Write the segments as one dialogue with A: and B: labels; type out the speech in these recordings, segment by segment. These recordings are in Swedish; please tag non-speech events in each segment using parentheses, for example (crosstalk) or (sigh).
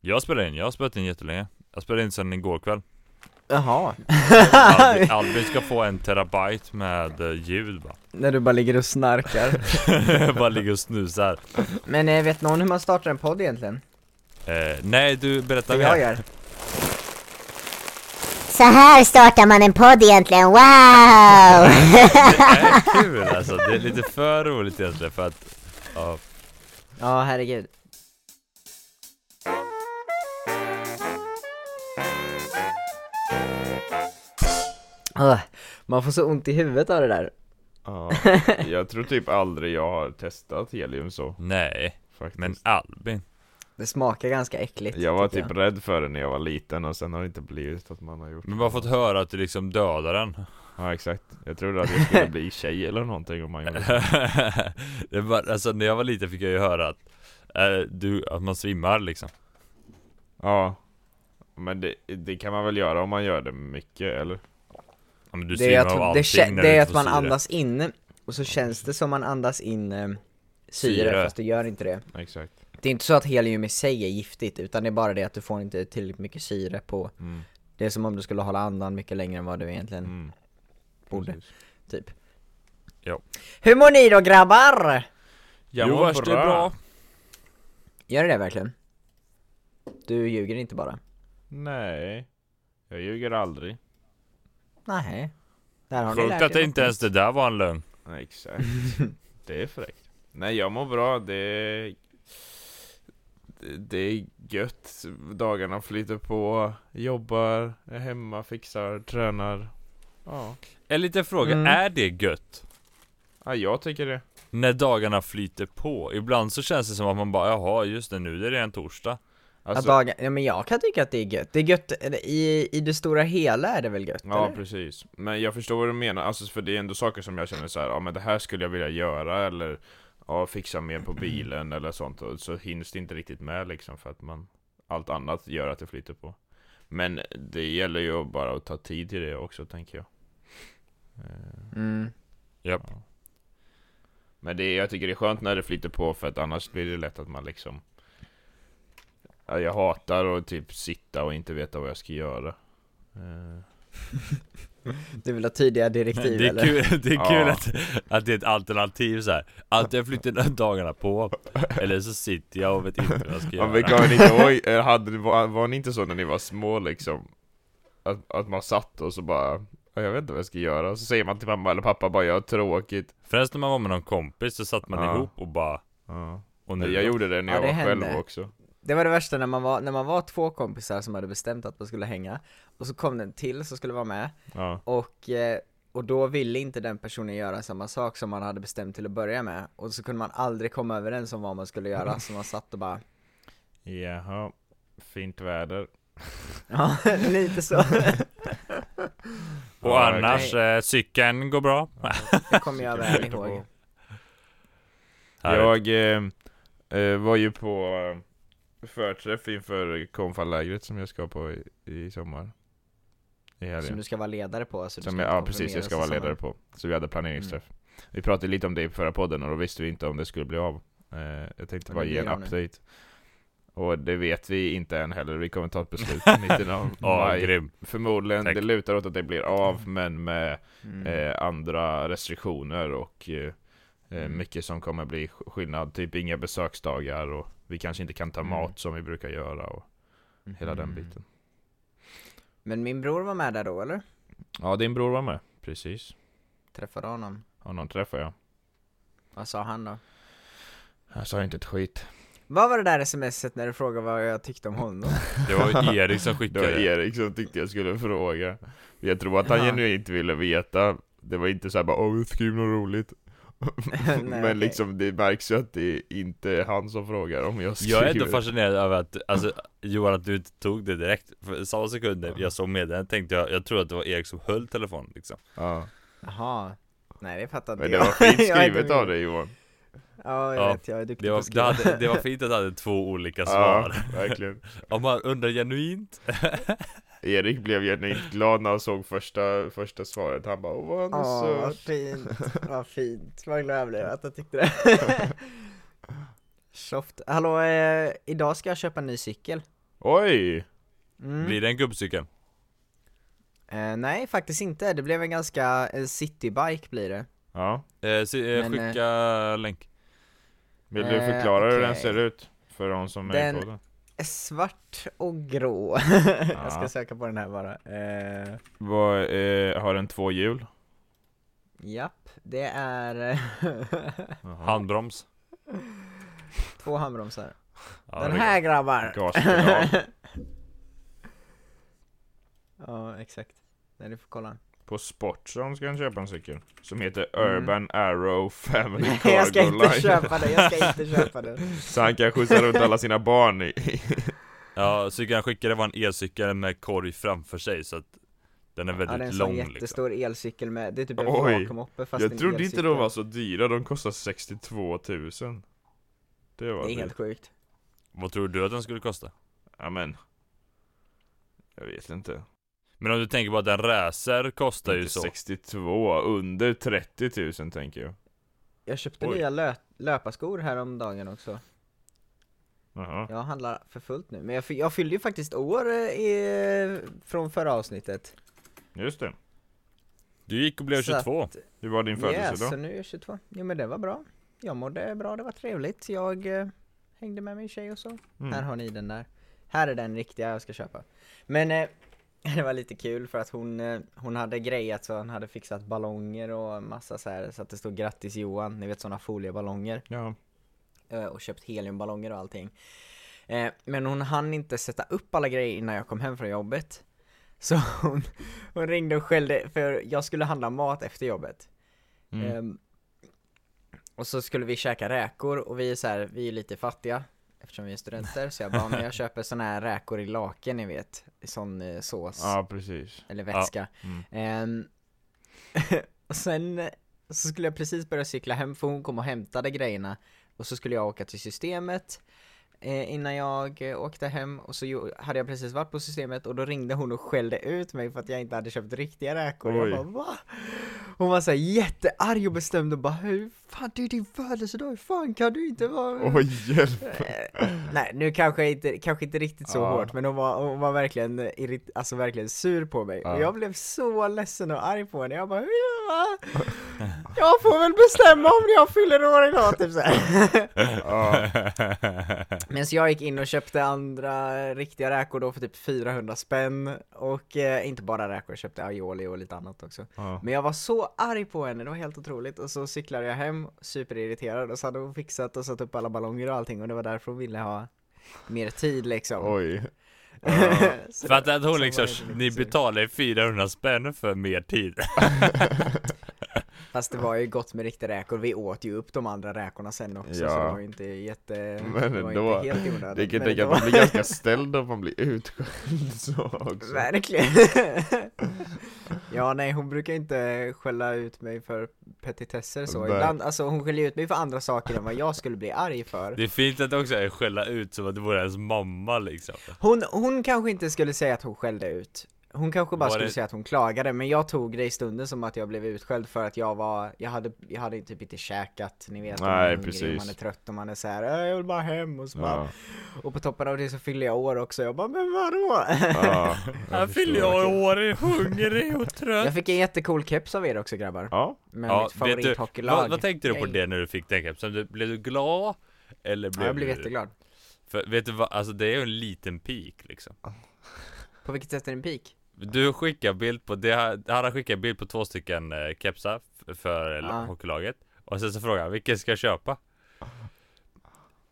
A: Jag spelar in, jag har spelat in jättelänge Jag spelade in sedan igår kväll
B: (laughs) Jaha,
A: Albin, Albin ska få en terabyte med eh, ljud va (laughs)
B: när du bara ligger och snarkar.
A: Jag Bara ligger och snusar
B: (laughs) Men eh, vet någon hur man startar en podd egentligen?
A: eh, Nej du, berätta
B: Det jag
A: mer
B: gör.
C: Så här startar man en podd egentligen, wow!
A: Det är kul alltså, det är lite för roligt egentligen för att ja.
B: Ja, herregud. Åh, man får så ont i huvudet av det där.
D: Ja, jag tror typ aldrig jag har testat helium så
A: Nej,
D: faktiskt.
A: men Albin
B: Det smakar ganska äckligt.
D: jag var
B: tycker
D: typ rädd för det när jag var liten och sen har det inte blivit att man har gjort
A: Men bara fått höra att du liksom dödar den (laughs)
D: Ja exakt, jag trodde att jag skulle bli tjej eller någonting om man gjorde
A: (laughs)
D: det
A: det var, Alltså när jag var liten fick jag ju höra att eh, du, att man svimmar liksom
D: Ja Men det, det kan man väl göra om man gör det mycket eller?
A: ja, men du
B: det är,
A: svimmar av
B: att, det,
A: allting
B: kä-
A: när
B: det
A: du
B: är
A: inte
B: att
A: får
B: man
A: syre.
B: andas in, och så känns det som man andas in eh, syre,
A: Syre.
B: fast det gör inte det.
D: Exakt
B: Det är inte så att helium i sig är giftigt, utan det är bara det att du får inte tillräckligt mycket syre på
D: mm.
B: Det är som om du skulle hålla andan mycket längre än vad du egentligen
D: Mm.
B: borde,
D: precis.
B: typ
A: Ja.
B: Hur mår ni då grabbar?
D: Jag
A: Jo
D: mår
A: vars det är bra
B: Gör det det verkligen? Du ljuger inte bara?
D: Nej Jag ljuger aldrig
B: Nej. Där har ni lärt
A: Sjukt
B: er
A: att det inte
B: något.
A: ens det där var en lögn
D: Nej, Exakt Det är fräckt Nej jag mår bra, det är... det- Det är gött Dagarna flyter på Jobbar, är hemma, fixar, tränar Ja,
A: En liten fråga,
B: Mm.
A: är det gött?
D: ja jag tycker det
A: När dagarna flyter på? Ibland så känns det som att man bara jaha just det, nu är det redan torsdag
B: Att
D: alltså,
B: dagar, ja, men jag kan tycka att det är gött, det är gött, eller i, i det stora hela är det väl gött
D: Ja
B: eller?
D: precis, men jag förstår vad du menar, alltså för det är ändå saker som jag känner så här, ja men det här skulle jag vilja göra eller Ja fixa mer på bilen eller sånt, och så hinns det inte riktigt med liksom för att man Allt annat gör att det flyter på Men det gäller ju bara att ta tid till det också tänker jag Eh,
B: Mm.
A: Japp.
D: ja. Men det, jag tycker det är skönt när det flyter på för att annars blir det lätt att man liksom ja, Jag hatar att typ sitta och inte veta vad jag ska göra Eh,
B: Du vill ha tydliga direktiv
A: Det är
B: eller?
A: kul, det är
D: Ja.
A: kul att, att det är ett alternativ så här. Antingen flyttar dagarna på Eller så sitter jag och vet inte vad jag ska
D: Ja, men
A: göra
D: kommer ni inte ihåg, eh, hade, ni- var, var ni inte så när ni var små liksom? Att, att man satt och så bara, "Ja, jag vet inte vad jag ska göra, och så säger man till mamma eller pappa bara jag har tråkigt
A: Främst när man var med någon kompis så satt man
D: Ja.
A: ihop och bara och nu
D: Jag
A: då?
D: gjorde det när
B: Ja,
D: jag
B: det
D: var själv
B: händer.
D: också
B: Det var det värsta när man var, när man var två kompisar som hade bestämt att man skulle hänga, och så kom den till som skulle vara med,
D: Ja,
B: Och, eh, och då ville inte den personen göra samma sak som man hade bestämt till att börja med Och så kunde man aldrig komma överens om vad man skulle göra så man satt och bara (laughs)
D: jaha Fint väder
B: Ja, lite så
A: Och
D: Ja,
A: annars, eh, cykeln går bra (laughs)
B: Det kommer jag väl ihåg
A: Härligt.
D: Jag eh, eh, var ju på eh, förträff inför konfalägret som jag ska på i, i sommar I helgen
B: Som du ska vara ledare på så Mm. du
D: Som
B: ska
D: jag,
B: inte
D: ja precis, jag ska vara
B: konfirmeras i
D: ledare
B: sommar.
D: på. Så vi hade planeringsträff. Vi pratade lite om det i förra podden och då visste vi inte om det skulle bli av. Eh, jag tänkte
B: Men
D: bara
B: det
D: ge en
B: blir av nu.
D: update. Och det vet vi inte än heller, vi kommer ta
B: (laughs)
D: ett beslut i mitten av
A: Ja,
D: maj.
A: grym
D: Förmodligen,
A: Tack.
D: det lutar åt att det blir av, men med
B: mm.
D: eh, andra restriktioner och eh, eh,
B: Mm.
D: mycket som kommer bli sk- skillnad. Typ inga besöksdagar och vi kanske inte kan ta
B: Mm.
D: mat som vi brukar göra och hela den
B: Mm.
D: biten.
B: Men min bror var med där då eller?
D: Ja, din bror var med. Precis.
B: Träffade honom?
D: Honom träffade jag.
B: Vad sa han då?
D: Han sa inte ett skit.
B: Vad var det där smset när du frågade vad jag tyckte om
D: (laughs)
B: honom?
A: Det var Erik som
D: Det var
A: skickade det
D: Erik som tyckte jag skulle fråga Jag tror att han
B: Ja.
D: genuint ville veta Det var inte såhär bara 'Åh, skriv något roligt'
B: (laughs) Nej,
D: (laughs) Men
B: okej.
D: liksom det märks ju att det är inte han som frågar om jag skriver
A: Jag är ändå fascinerad över att, alltså Johan att du inte tog det direkt För samma sekund jag såg meddelandet tänkte jag, jag trodde att det var Erik som höll telefonen liksom
D: ja.
B: Jaha Nej det fattade
D: Men
B: inte
D: det
B: (laughs) jag
D: var fint
B: Jag är inte
D: skrivet av
B: med.
D: dig Johan
B: Ja jag
A: Ja,
B: vet, jag är duktig
A: Det
B: på
A: var,
B: att
A: det,
B: skriva
A: hade, det var fint att han hade två olika
D: Ja,
A: svar
D: verkligen
A: Om man undrar genuint
D: Erik blev genuint glad när han såg första, första svaret Han bara 'Åh, vad han är
B: Åh, vad
D: söt'
B: fint, vad fint, vad glad jag blev att jag tyckte det Soft, hallå, eh, idag ska jag köpa en ny cykel
D: Oj!
B: Mm.
A: Blir det en gubbcykel?
B: Eh, nej, faktiskt inte. Det blev en ganska eh, citybike blir det.
D: Ja.
A: Eh, si- eh,
B: Men,
A: skicka länk
D: Vill du
B: Eh,
D: förklara hur den
B: okej.
D: ser ut? För de som är
B: Den-
D: i podden?
B: Eh, Svart och grå. (laughs) Jag ska
D: Ja.
B: söka på den här bara. Eh,
D: Vad, eh, har den två hjul?
B: japp, det är eh,
A: Handbroms
B: (laughs) två handbromsar.
A: ja,
B: den
A: det-
B: här grabbar!
D: Gaspedal
B: (laughs) Ja, exakt. Nej, du får kolla.
D: På Sportson ska han köpa en cykel Som heter
B: Mm.
D: Urban Arrow Family
B: Nej,
D: Cargo
B: jag ska inte
D: Line
B: köpa den, jag ska
D: (laughs)
B: inte köpa den.
D: Så han kan skjutsa runt alla sina barn i
A: Ja, cykeln han skickade var en elcykel med korg framför sig så att Den är
B: Ja, det är
A: väldigt
B: en sån
A: lång liksom
B: jättestor elcykel med, det är typ en
D: Oj.
B: vakuumhoppe fast en
D: Jag trodde inte
B: elcykel.
D: de var så dyra, de kostar 62 000 Det var
B: Det är
D: det
B: helt sjukt.
A: Vad tror du att den skulle kosta?
D: Ja men Jag vet inte
A: Men om du tänker på att en racer kostar ju
D: Inte
A: så
D: 62, under 30 000 tänker jag
B: Jag köpte
A: Oj.
B: nya lö- löparskor häromdagen också.
D: Jaha
B: Jag handlar för fullt nu, men jag, fy- jag fyllde ju faktiskt år eh, i, från förra avsnittet.
D: Just det,
A: Du gick och blev
B: Så att-
A: 22 (laughs)
D: hur var din
B: Yes,
D: födelsedag?
B: så nu är jag 22. Jo men det var bra. Jag mådde bra, det var trevligt. Jag eh, hängde med min tjej och så.
D: Mm.
B: Här har ni den där. Här är den riktiga jag ska köpa. Men eh, (laughs) det var lite kul för att hon, eh, hon hade grejat så hon hade fixat ballonger och massa så här så att det stod grattis Johan, ni vet sådana folieballonger.
D: Ja,
B: eh, Och köpt heliumballonger och allting. Eh, Men hon hann inte sätta upp alla grejer innan jag kom hem från jobbet. (laughs) Så hon, hon ringde och skällde för jag skulle handla mat efter jobbet.
D: Mm.
B: Ehm, och så skulle vi käka räkor och vi är så här, vi är lite fattiga eftersom vi är studenter så jag bara, men jag köper såna här räkor i laken ni vet, i sån eh, sås
D: ja precis
B: eller vätska.
D: Mm.
B: Ehm, (laughs) och sen så skulle jag precis börja cykla hem för hon kom och hämtade grejerna och så skulle jag åka till systemet eh, innan jag eh, åkte hem och så jo- hade jag precis varit på systemet och då ringde hon och skällde ut mig för att jag inte hade köpt riktiga räkor.
D: Oj.
B: Jag bara va? Hon var såhär jättearg och bestämd och bara hur fan det är din födelsedag, hur fan kan du inte vara
D: Oj hjälp!
B: (laughs) Eh, Nej, nu kanske inte, kanske inte riktigt så
D: Ja.
B: hårt, men hon var, hon var verkligen, irrit, alltså verkligen sur på mig.
D: Ja.
B: Och jag blev så ledsen och arg på henne. Jag bara, "Ja, jag får väl bestämma om jag fyller år idag, typ så
D: (laughs)
B: här.
D: Ja,
B: Men så jag gick in och köpte andra riktiga räkor då för typ 400 spänn. Och eh, inte bara räkor, jag köpte aioli och lite annat också.
D: ja.
B: Men jag var så arg på henne, det var helt otroligt. Och så cyklade jag hem, superirriterad, och så hade hon fixat och satt upp alla ballonger och allting och det var därför hon ville ha mer tid liksom.
D: Oj
B: (laughs)
A: (laughs)
B: Så-
A: För att, att
B: så
A: hon
B: var
A: liksom,
B: jag inte riktigt
A: ni
B: sur.
A: betalar 400 spänn för mer tid (laughs)
B: Fast det var ju gott med riktiga räkor, vi åt ju upp de andra räkorna sen också
D: Ja.
B: så det var ju inte jätte...
D: Men
B: det var
D: ändå,
B: inte helt i onödan.
D: Det kan
B: Men
D: tänka att
B: ändå.
D: man blir ganska ställd om man blir utskälld (laughs) så också
B: (laughs) Verkligen! (laughs) ja nej hon brukar inte skälla ut mig för petitesser så,
D: Nej.
B: ibland, alltså hon skäller ut mig för andra saker än vad jag skulle bli arg för
A: Det är fint att det också är skälla ut som att det vore ens mamma liksom
B: Hon, hon kanske inte skulle säga att hon skällde ut Hon kanske bara
A: Var
B: skulle
A: det-
B: säga att hon klagade men jag tog det i stunden som att jag blev utskälld för att jag var Jag hade, jag hade typ inte käkat, ni vet om man
D: Nej,
B: är hungrig,
D: precis.
B: man är trött och man är så här, "Äh, jag vill bara hem och så bara,
D: Ja,
B: Och på toppen av det så fyller jag år också, jag bara men vadå?
D: ja,
A: Han fyller
D: förstår.
A: jag år, är hungrig och trött
B: Jag fick en jättecool keps av er också grabbar (laughs)
D: Ja,
B: Med
A: Ja,
B: mitt
A: vet du,
B: favorithockeylag
A: Vad, vad tänkte du på
B: Yay.
A: det när du fick den kepsen? Du- Blev du glad? Eller blev
B: Ja, jag blev
A: du...
B: jätteglad
A: För vet du vad, alltså det är ju en liten pik liksom
B: På vilket sätt är det en pik? (laughs)
A: Du skickar bild på, det, han har skickat bild på två stycken eh, kepsar f- för eh,
B: Ja.
A: hockeylaget Och sen så frågade han, vilken ska jag köpa?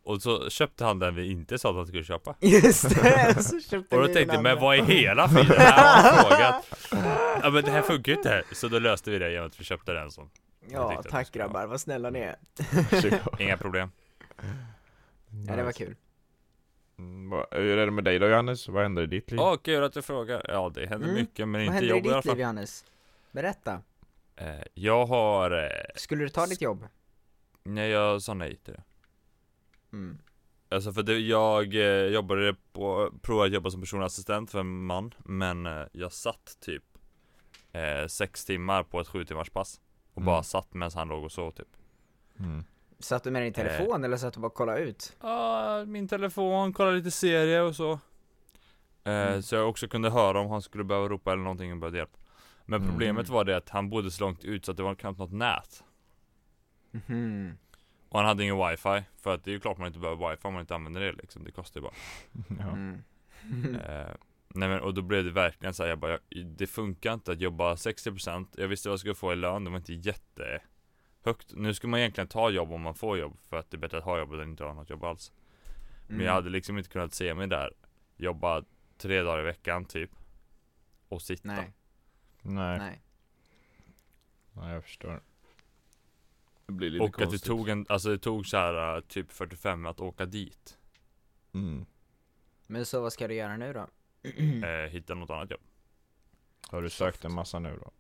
A: Och så köpte han den vi inte sa att han skulle köpa
B: Just det!
A: (laughs)
B: Så köpte
A: Och då
B: ni den
A: tänkte jag, men
B: andra.
A: vad är
B: (laughs)
A: hela friden? Det här har han frågat Ja men det här funkar ju inte här Så då löste vi det genom att vi köpte den som Jag
B: Ja
A: tyckte att det
B: tack
A: skulle vara-
B: grabbar, vad snälla ni är
D: varsågod
A: Inga problem
B: Ja det var kul
D: Mm, vad- Hur är det med dig då Johannes? Vad händer i ditt liv?
A: Åh kul att du frågar Ja det händer
B: Mm.
A: mycket men
B: Vad
A: inte
B: händer i
A: jobb i alla
B: ditt liv
A: fall
B: Johannes? Berätta,
A: Eh, Jag har eh,
B: skulle du ta ditt jobb?
A: Nej jag sa nej till det
B: Mm.
A: Alltså för det, jag eh, jobbade på, provade att jobba som personassistent för en man Men eh, jag satt typ eh, Sex timmar på ett sju timmars pass Och
D: Mm.
A: bara satt medan han låg och sov typ
D: Mm.
B: Satt du med din telefon eller satt du bara och kollade ut?
A: Ja, min telefon, kollade lite serier och så Eh,
B: Mm.
A: Så jag också kunde höra om han skulle behöva ropa eller någonting och behövde hjälp. Men
D: Mm.
A: problemet var det att han bodde så långt ut så att det var knappt något nät.
B: Mhm.
A: Och han hade ingen wifi. För att det är ju klart man inte behöver wifi om man inte använder det liksom. Det kostar ju bara.
D: Ja.
B: Mm.
A: Eh, nej men och då blev det verkligen så här, jag bara, jag, det funkar inte att jobba 60% Jag visste vad jag skulle få i lön, det var inte jättehögt Nu ska man egentligen ta jobb om man får jobb För att det är bättre att ha jobb än att inte ha något jobb alls Men jag
B: Mm.
A: hade liksom inte kunnat se mig där Jobba tre dagar i veckan typ Och sitta
B: Nej,
D: Nej, nej.
B: nej.
D: jag förstår. Det blir lite
A: Och
D: konstigt.
A: att det tog en, alltså det tog så här eh, typ 45 att åka dit
D: Mm.
B: Men så vad ska du göra nu då? Mm.
A: eh, Hitta något annat jobb
D: Har du sökt en massa nu då?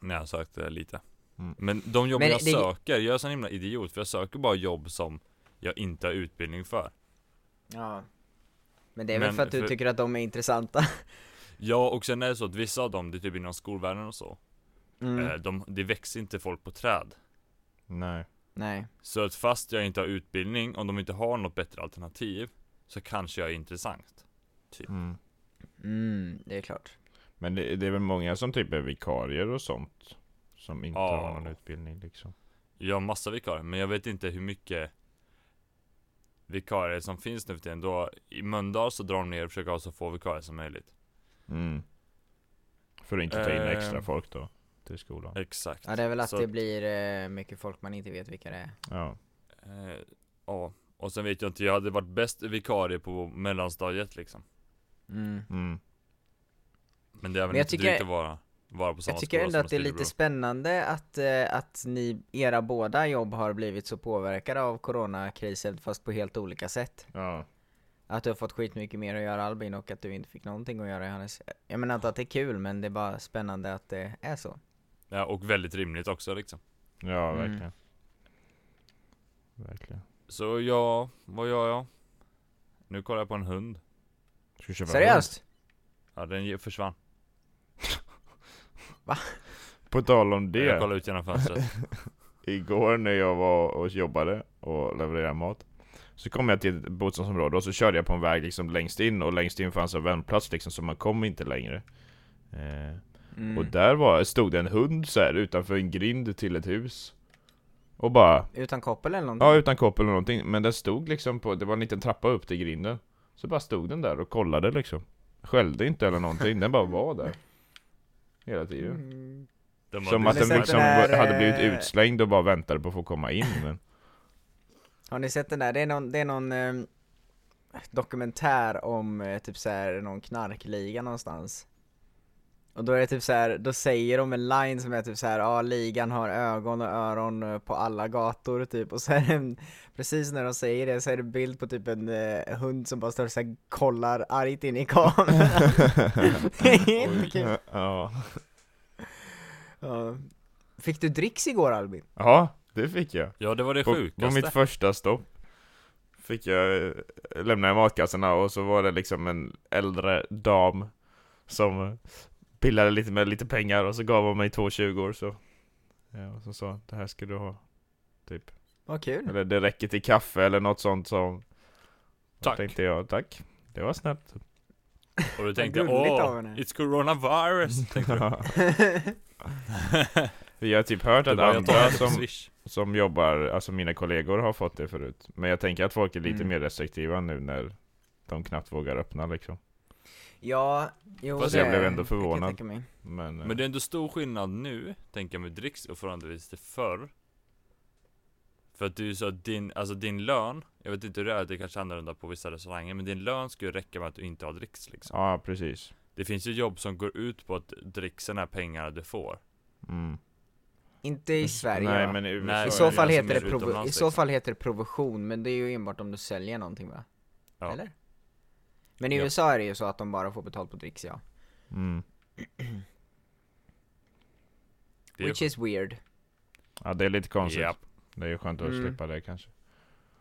A: När jag sökte lite
D: Mm.
A: Men de jobb
B: Men
A: jag
B: det-
A: söker, jag är sån himla idiot för jag söker bara jobb som jag inte har utbildning för
B: (clears throat) Ja. Men det är väl
A: Men
B: för att du
A: för-
B: tycker att de är intressanta? (laughs)
A: Ja och sen är det så att vissa av dem, det är typ inom skolvärlden och så
B: Mm.
A: eh, de, Det växer inte folk på träd
D: Nej.
B: Nej.
A: Så att fast jag inte har utbildning, om de inte har något bättre alternativ Så kanske jag är intressant
D: Mm.
B: Mm, det är klart.
D: Men det, det är väl många som typ är vikarier och sånt? Som inte
A: Ja.
D: har någon utbildning liksom.
A: Jag har massa vikarier, men jag vet inte hur mycket Vikarier som finns nu för tiden, då I Mölndal så drar de ner och försöker ha så få vikarier som möjligt
D: Mm. För att inte ta in
A: Eh.
D: extra folk då. Till skolan.
A: Exakt
B: Ja det är väl att
A: så,
B: det blir eh, mycket folk man inte vet vilka det är.
D: Ja.
A: eh, Ja, och sen vet jag inte, jag hade varit bäst vikarie på mellanstadiet liksom
B: Mm.
D: Mm.
A: Men det är väl
B: Men jag
A: inte
B: tycker-
A: drygt att vara, vara på samma
B: Jag tycker
A: skola
B: ändå
A: som
B: att det är
A: Stilbro.
B: lite spännande att, eh, att ni, era båda jobb har blivit så påverkade av coronakrisen fast på helt olika sätt.
D: Ja.
B: Att du har fått skitmycket mer att göra Albin och att du inte fick någonting att göra Johannes. Jag menar inte att det är kul men det är bara spännande att det är så.
A: Ja, och väldigt rimligt också liksom
D: Ja,
B: Mm.
D: verkligen. Verkligen.
A: Så ja, vad gör jag? Nu kollar jag på en hund.
D: Ska vi köpa
B: Seriöst?
A: Ja den ge- försvann.
D: hund? På tal om det.
A: Jag kollar ut genom
D: (laughs)
A: fönstret.
D: Igår när jag var och jobbade och levererade mat Så kom jag till ett bostadsområde och så körde jag på en väg liksom längst in och längst in fanns en vändplats liksom så man kom inte längre eh,
B: Mm.
D: Och där var, stod det en hund så här utanför en grind till ett hus Och bara
B: Utan koppel eller någonting?
D: Ja, utan koppel eller någonting. Men den stod liksom på, det var en liten trappa upp till grinden. Så bara stod den där och kollade liksom. Skällde inte eller någonting, den bara var där. Hela tiden.
B: Mm.
A: Den
D: Som
A: var
D: att
B: Eller
D: den
B: så att
D: liksom
B: den är,
D: var- hade blivit
B: eh,
D: utslängd och bara väntade på att få komma in. Men,
B: Har ni sett den där? Det är någon, det är någon ehm, dokumentär om eh, typ så här, någon knarkliga någonstans. Och då är det typ så här, då säger de en line som är typ så här, ja ah, ligan har ögon och öron eh, på alla gator typ och så är det en, precis när de säger det så är det bild på typ en eh, hund som bara står och så här, kollar argt in i
D: (laughs)
B: kameran. det är helt kul.
D: ja.
B: Ja. Fick du dricks igår Albin?
D: ja, det fick jag.
A: Ja det var det
D: På, på
A: sjukaste.
D: mitt första stopp fick jag eh, lämna i matkassarna och så var det liksom en äldre dam som eh, pillade lite med lite pengar och så gav hon mig två 20 så ja, och så sa hon, det här ska du ha typ
B: Vad
A: Mm.
B: kul.
D: eller det räcker till kaffe eller något sånt som Då
A: Tack.
D: tänkte jag tack det var snällt
A: Och du tänkte
B: gulligt av
A: åh,
B: henne."
A: it's
D: (laughs)
A: coronavirus. Tänkte du.
D: jag har typ hört
A: Det
D: att
A: var jag tar
D: andra
A: det på
D: som,
A: swish.
D: som jobbar, alltså mina kollegor har fått det förut Men jag tänker att folk är lite
B: Mm.
D: mer restriktiva nu när de knappt vågar öppna liksom
B: (laughs) Ja, jo
A: Fast
B: det
A: jag
D: blev ändå
B: kan
D: förvånad.
B: tänka mig.
D: Men,
A: Men det är ändå stor skillnad nu, tänker jag med dricks och förhållandevis till förr. För att det är ju så att din, alltså din lön, jag vet inte hur det är, det kanske är annorlunda på vissa restauranger, men din lön ska ju räcka med att du inte har dricks liksom.
D: eh, Ja, precis.
A: Det finns ju jobb som går ut på att dricksen är pengarna du får.
D: Mm.
B: Inte i Sverige
D: Nej,
B: va?
D: men i USA
A: Nej,
D: är
B: I
A: Ja,
B: så,
A: jag
B: fall
A: som
B: heter det
A: är
B: provo-
A: utomlands,
B: I så
A: liksom.
B: fall heter det provision, men det är ju enbart om du säljer någonting va?
A: Ja.
B: Eller? Men i
A: Ja.
B: USA är det ju så att de bara får betalt på dricks ja.
D: Mm.
A: Det är
B: Which is weird.
D: Ja, det är lite konstigt.
A: Japp.
D: Det är ju skönt att
B: Mm.
D: slippa det kanske.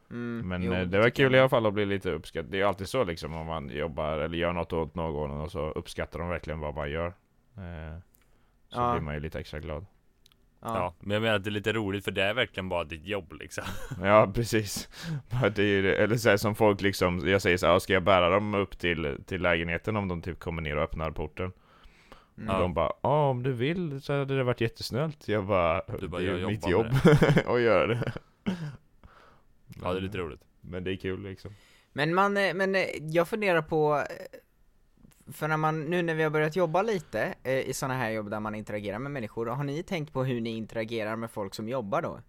B: Mm,
D: Men
B: jo,
D: eh, det
B: tycker
D: var
B: jag
D: kul i
B: med.
D: alla fall att bli lite uppskattad. Det är ju alltid så liksom om man jobbar eller gör något åt någon och så uppskattar de verkligen vad man gör. Eh, så
B: Ja.
D: blir man ju lite extra glad.
A: Ja, men jag menar att det är lite roligt för det är verkligen bara ditt jobb liksom.
D: Ja, (laughs) precis. Bara Det är, ju det. eller så här, som folk liksom, jag säger så här, "Ah, ska jag bära dem upp till, till lägenheten om de typ kommer ner och öppnar porten?
B: Mm.
D: Och
A: Ja.
D: de bara, ja ah, om du vill så hade det varit jättesnällt. Jag bara,
A: Du bara,
D: det är
A: "Jag
D: ju mitt
A: jobbar
D: jobb
A: med
D: (laughs) att göra det.
A: Ja, det är lite roligt.
D: Men det är kul liksom.
B: Men man, eh, men eh, jag funderar på, eh, för när man, nu när vi har börjat jobba lite eh, i sådana här jobb där man interagerar med människor, har ni tänkt på hur ni interagerar med folk som jobbar då?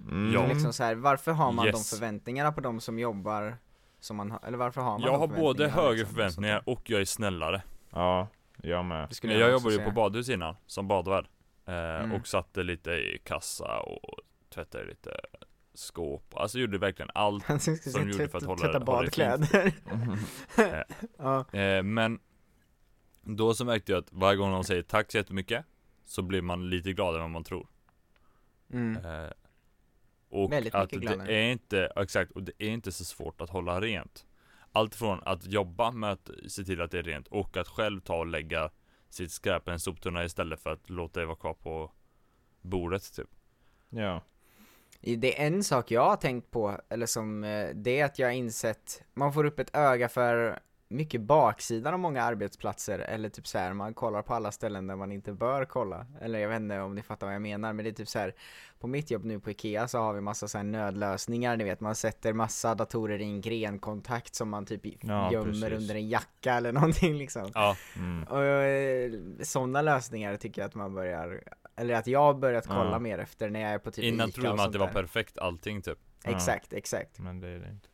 D: Mm.
A: Ja.
B: Liksom så här, varför har man
A: Yes.
B: de förväntningarna på de som jobbar som man har, eller varför har man
A: Jag
B: de
A: har både
B: förväntningarna,
A: högre
B: liksom, och
A: förväntningar
B: sånt
A: och jag är snällare.
D: Ja, jag med.
B: där? Skulle
A: Jag, jag
B: också
A: jobbade ju
B: säga.
A: på
B: (laughs)
A: badhus innan, som badvärd. Eh,
B: Mm.
A: Och satte lite i kassa och tvättade lite skåp. Alltså gjorde verkligen allt.
B: Han skulle säga
A: gjorde för att
B: tvätta-
A: hålla-
B: tvätta
A: hålla det fint. Mm.
B: badkläder. (laughs) ja.
A: Eh, men då så märkte jag att varje gång någon säger tack så jättemycket, så blir man lite gladare än vad man tror.
B: Mm.
A: Eh, och
B: Väldigt
A: att
B: mycket
A: det
B: gladare.
A: är inte, exakt, och det är inte så svårt att hålla rent. Allt från att jobba med att se till att det är rent och att själv ta och lägga sitt skräp i en soptunna istället för att låta det vara kvar på bordet typ.
D: Ja.
B: Det är en sak jag har tänkt på, eller som, eh, det är att jag har insett, man får upp ett öga för mycket baksidan av många arbetsplatser, eller typ så här, man kollar på alla ställen där man inte bör kolla. Eller jag vet inte om ni fattar vad jag menar, men det är typ så här, på mitt jobb nu på IKEA så har vi massa så här nödlösningar, ni vet man sätter massa datorer i en grenkontakt som man typ i-
D: Ja,
B: gömmer
D: precis.
B: under en jacka eller (laughs) någonting liksom.
A: Ja,
D: Mm.
B: Och eh, sådana lösningar tycker jag att man börjar, eller att jag har börjat kolla
D: Ja.
B: mer efter när jag är på typ
A: innan
B: Ica
A: trodde
B: och
A: man att det
B: sånt
A: var
B: där.
A: perfekt allting typ.
D: Ja.
B: Exakt, exakt.
D: Men det är det inte.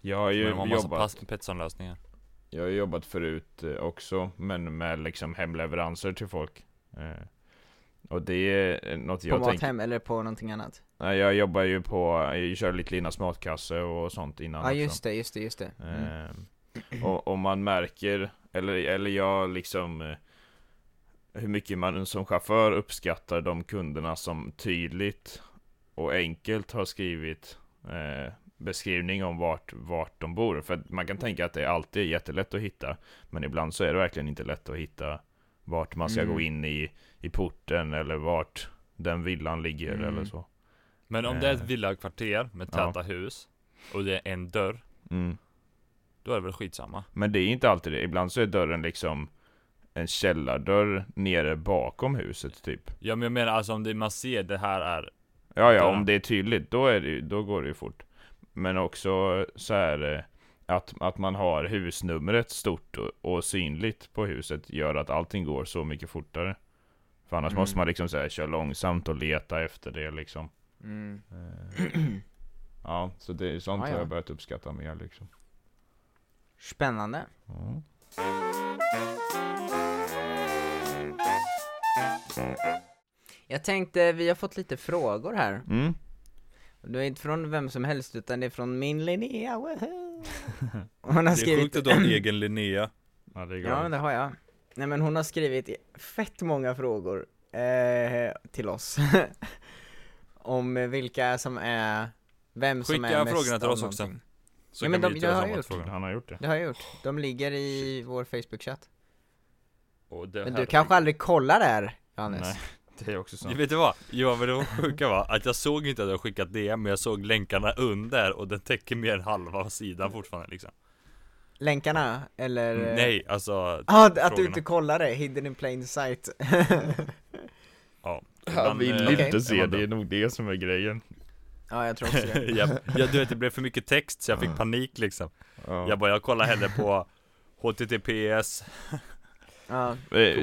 D: Jag har ju
A: Men de har massa
D: jobbat,
A: pass- Petsson-lösningar.
D: jag har jobbat förut eh, också, men med liksom hemleveranser till folk. Eh, Och det är eh, något
B: På
D: jag tänker
B: Mathem eller på någonting annat?
D: Nej, jag jobbar ju på, jag kör lite Linas matkasse och sånt
B: Ja
D: innan
B: ah, just det, just det, just det.
D: också.
A: Eh.
B: Mm.
D: Ehm, och, och man märker, eller, eller jag liksom eh, Hur mycket man som chaufför uppskattar de kunderna som tydligt och enkelt har skrivit eh, beskrivning om vart, vart de bor. För att man kan tänka att det alltid är jättelätt att hitta. Men ibland så är det verkligen inte lätt att hitta vart man ska
B: Mm.
D: gå in i, i porten eller vart den villan ligger
B: Mm.
D: eller så.
A: Men om det är ett
D: Eh.
A: villakvarter med
D: Ja.
A: täta hus och det är en dörr,
D: Mm.
A: då är det väl skitsamma.
D: Men det är inte alltid det. Ibland så är dörren liksom en källardörr nere bakom huset typ.
A: Ja men jag menar alltså om det, man ser det här är,
D: Ja, ja,
A: Dörren.
D: om det är tydligt, då, är det, ju- då går det ju fort. Men också så här eh, att, att man har husnumret stort och, och synligt på huset gör att allting går så mycket fortare. För annars
B: Mm.
D: måste man liksom så här, köra långsamt och leta efter det liksom.
B: Mm.
D: Eh, (clears throat) Ja, så det är sånt
B: Ja, ja.
D: har jag börjat uppskatta mer liksom.
B: Spännande.
A: Mm.
D: Ja.
B: Jag tänkte, vi har fått lite frågor här.
D: Mm.
B: Det är inte från vem som helst, utan det är från min Linnea, woho!
A: (laughs)
B: Hon har skrivit...
A: att du har en egen Linnea.
D: Ja, det är
B: Ja, men det har jag. Nej men hon har skrivit fett många frågor eh, till oss. (laughs) Om vilka som är, vem som
A: Skicka
B: är mest
A: frågorna till
B: av
A: oss också.
B: någonting.
A: Så
B: Ja,
A: kan
B: men
A: vi
B: de- typ- jag har
A: ställa samma
B: gjort.
A: fråga.
D: Han har gjort det.
B: Det har jag gjort. De ligger i vår Facebook-chatt.
A: Och det
B: Men du
A: här-
B: kanske aldrig kollar där, Johannes?
D: Nej, (laughs) det är också sant.
A: Ja, vet du vad? Johan, men det var sjuka va? Att jag såg inte att jag skickat DM, men jag såg länkarna under och den täcker mer än halva sidan fortfarande liksom.
B: Länkarna, eller?
D: Mm,
B: eh,
A: Nej, alltså...
B: Ah, d- att du
A: frågorna.
B: inte kollade, hidden in plain
D: (laughs)
B: sight.
A: Ja.
D: Han
A: Ibland,
D: vill
A: eh,
B: Okej.
D: inte se,
A: ibland-
D: det är nog det som är grejen.
B: ja, jag tror också det.
A: Japp. (laughs) ja, du vet det blev för mycket text så jag fick panik liksom. Jag bara, jag kollar hellre på HTTPS.
B: Ja.
D: Eh,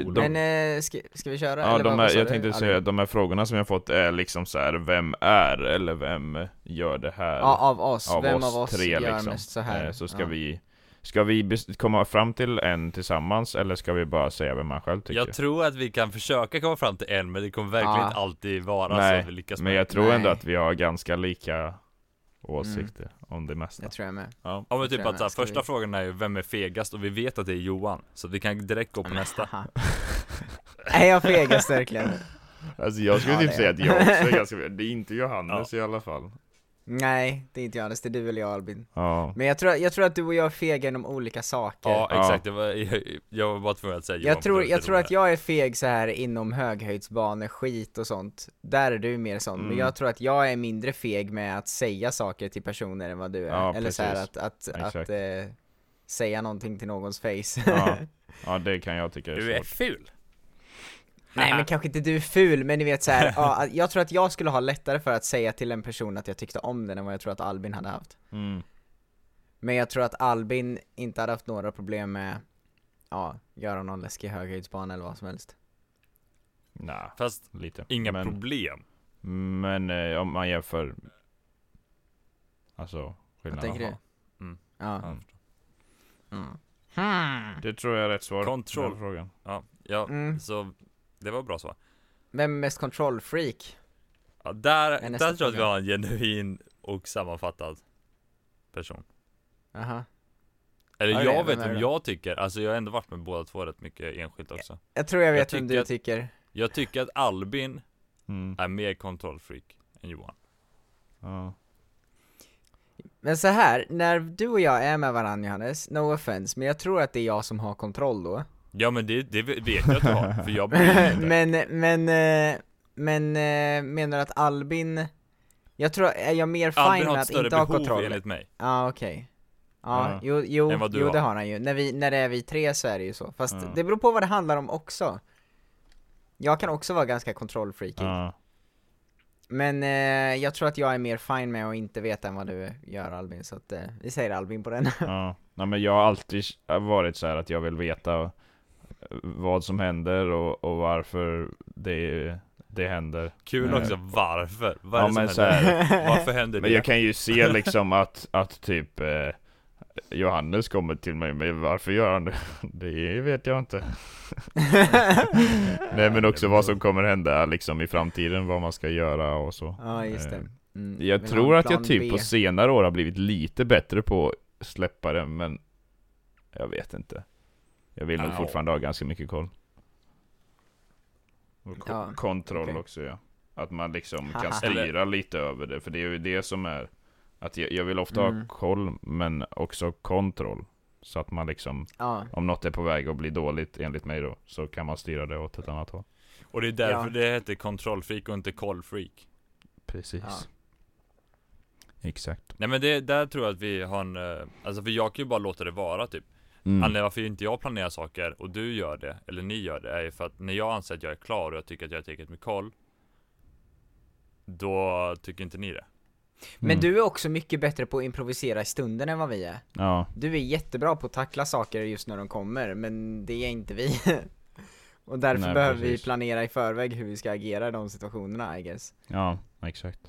B: Men
D: de,
B: eh, ska, ska vi köra?
D: ja,
B: eller vad-
D: de
B: vad
D: här,
B: sa
D: jag
B: du,
D: tänkte säga
B: Albin?
D: att de här frågorna som jag fått är liksom så här, vem är eller vem gör det här?
B: Ja, av oss.
D: av
B: Vem
D: oss
B: av oss
D: tre,
B: gör
D: liksom.
B: mest så här?
D: Eh, så ska
B: ja.
D: vi, ska vi bes- komma fram till en tillsammans eller ska vi bara säga vem man själv tycker? Ah.
A: Jag tror att vi kan försöka komma fram till en, men det kommer verkligen
B: Ja.
A: inte alltid vara så
D: Nej,
A: att vi lyckas
D: Men
A: med.
D: jag tror ändå
B: Nej. Mm.
D: att vi har ganska lika åsikter om det mesta.
B: Jag tror jag med.
A: Ja, ja men typ
B: tror
A: att så här,
B: jag ska
A: första
B: vi-
A: frågan är ju, vem är fegast? Och vi vet att det är Johan, så vi kan direkt
B: Mm.
A: gå på
B: (laughs)
A: nästa.
D: (laughs)
B: Haha. Är jag fegast verkligen?
D: Alltså jag skulle
B: Ja,
D: typ
B: det är- (laughs)
D: säga att jag också är ganska, det är inte Johannes i alla fall.
B: Nej, det är inte Johannes, det är du eller jag Albin.
D: Ja.
B: Men jag tror, jag tror att du och jag är fega inom olika saker.
A: Ja
D: Ja.
A: exakt, Jag, var, (laughs) jag, jag var bara tvungen att säga
B: Jag tror, jag tror att jag är feg så här inom höghöjdsbanor, skit och sånt. Där är du mer sån, men
D: Mm.
B: jag tror att jag är mindre feg med att säga saker till personer än vad du är.
D: Ja,
B: Eller så här att,
D: precis.
B: att, att
D: Exakt.
B: eh, säga någonting till någons face.
D: ja. Ja, det kan jag tycka är
A: Du är
D: svårt.
A: ful!
B: (laughs) Nej men kanske inte du är ful, men ni vet så
D: (laughs)
B: här, ja, att- jag tror att jag skulle ha lättare för att säga till en person att jag tyckte om den än vad jag tror att Albin hade haft.
D: Mm.
B: Men jag tror att Albin inte hade haft några problem med, ja, göra någon läskig höghöjdsbana eller vad som helst.
D: Nej,
A: Fast
D: lite.
A: inga
D: men,
A: problem.
D: Men eh, om man jämför... Alltså,
B: Vad
D: skillnaden.
B: tänker du?
A: Mm.
B: Ja.
A: Ja.
B: Mm.
D: Det tror jag är rätt svar. på den
A: Kontroll.
D: Frågan.
A: Ja, ja
B: Mm.
A: så det var bra svar.
B: Vem är mest kontrollfreak?
A: Ja, där
B: Men
A: där
B: nästa
A: tror jag att vi
B: fråga.
A: har en genuin och sammanfattad person.
B: Aha.
A: Eller
B: Ja, det är
A: jag
B: det.
A: vet
B: Vem är
A: vem
B: det?
A: jag tycker, alltså jag har ändå varit med båda två rätt mycket enskilt också.
B: Jag tror jag
A: Jag
B: vet vem
A: tycker
B: du
A: att-
B: tycker.
A: Jag tycker att Albin
D: Mm.
A: är mer kontrollfreak än Johan.
D: Ja.
B: Men så här, när du och jag är med varandra Johannes, no offense, men jag tror att det är jag som har kontroll då.
A: Ja men det, det vet jag att du har, för jag
B: (laughs)
A: bryr mig inte. (laughs)
B: men, men, eh, men eh, menar du att Albin, jag tror, är jag mer fine
A: Albin har
B: med
A: ett
B: att
A: större
B: inte ha
A: behov
B: kontroll?
A: enligt mig.
B: Ja ah, okej. Ja,
D: Ja.
B: jo, jo,
A: Än vad du
B: jo
A: har.
B: det har han ju. När, vi, när det är vi tre så är det ju så. Fast
D: Ja.
B: det beror på vad det handlar om också. Jag kan också vara ganska kontrollfreaky.
D: Ja.
B: Men eh, jag tror att jag är mer fine med att inte veta än vad du gör Albin, så att eh, vi säger Albin på
D: (laughs)
B: den.
D: Ja. Nej, men jag har alltid varit så här att jag vill veta eh, vad som händer och, och varför det, det händer.
A: Kul
D: Nej.
A: också, varför? Vad är
D: Ja,
A: det
D: men
A: som
D: så
A: händer?
D: här,
A: Varför händer det?
D: Men jag kan
A: (laughs)
D: ju se liksom att, att typ eh, Johannes kommer till mig med varför gör han det? (laughs) Det vet jag inte. Nej men också vad som kommer hända liksom i framtiden, vad man ska göra och så.
B: ja just det.
D: Eh,
B: Mm, vill
D: Jag
B: ha
D: tror
B: en
D: att jag
B: plan
D: typ
B: B.
D: på senare år har blivit lite bättre på att släppa det, men jag vet inte. Jag vill nog
A: Ja.
D: fortfarande ha ganska mycket koll. Och ko-
B: Ja,
D: kontroll
B: okej.
D: också ja. Att man liksom
B: Haha.
D: kan styra lite över det, för det är ju det som är att jag, jag vill ofta
B: Mm.
D: ha koll, men också kontroll. Så att man liksom,
B: Ja,
D: om något är på väg att bli dåligt enligt mig då, så kan man styra det åt ett annat håll.
A: Och det är därför
B: Ja.
A: det heter kontrollfreak och inte kollfreak.
D: Precis. Exakt.
A: Nej men det, där tror jag att vi har en, eh, alltså för jag kan ju bara låta det vara typ.
D: Mm.
A: Anledningen varför inte jag planerar saker och du gör det, eller ni gör det, är ju för att när jag anser att jag är klar och jag tycker att jag har tillräckligt med koll Då tycker inte ni det.
B: Men
D: Mm.
B: du är också mycket bättre på att improvisera i stunden än vad vi är.
D: Ja,
B: Du är jättebra på att tackla saker just när de kommer, men det är inte vi. (laughs) Och därför
D: Nej,
B: behöver vi
D: precis.
B: planera i förväg hur vi ska agera i de situationerna I
D: (laughs)
B: guess.
D: ja, exakt.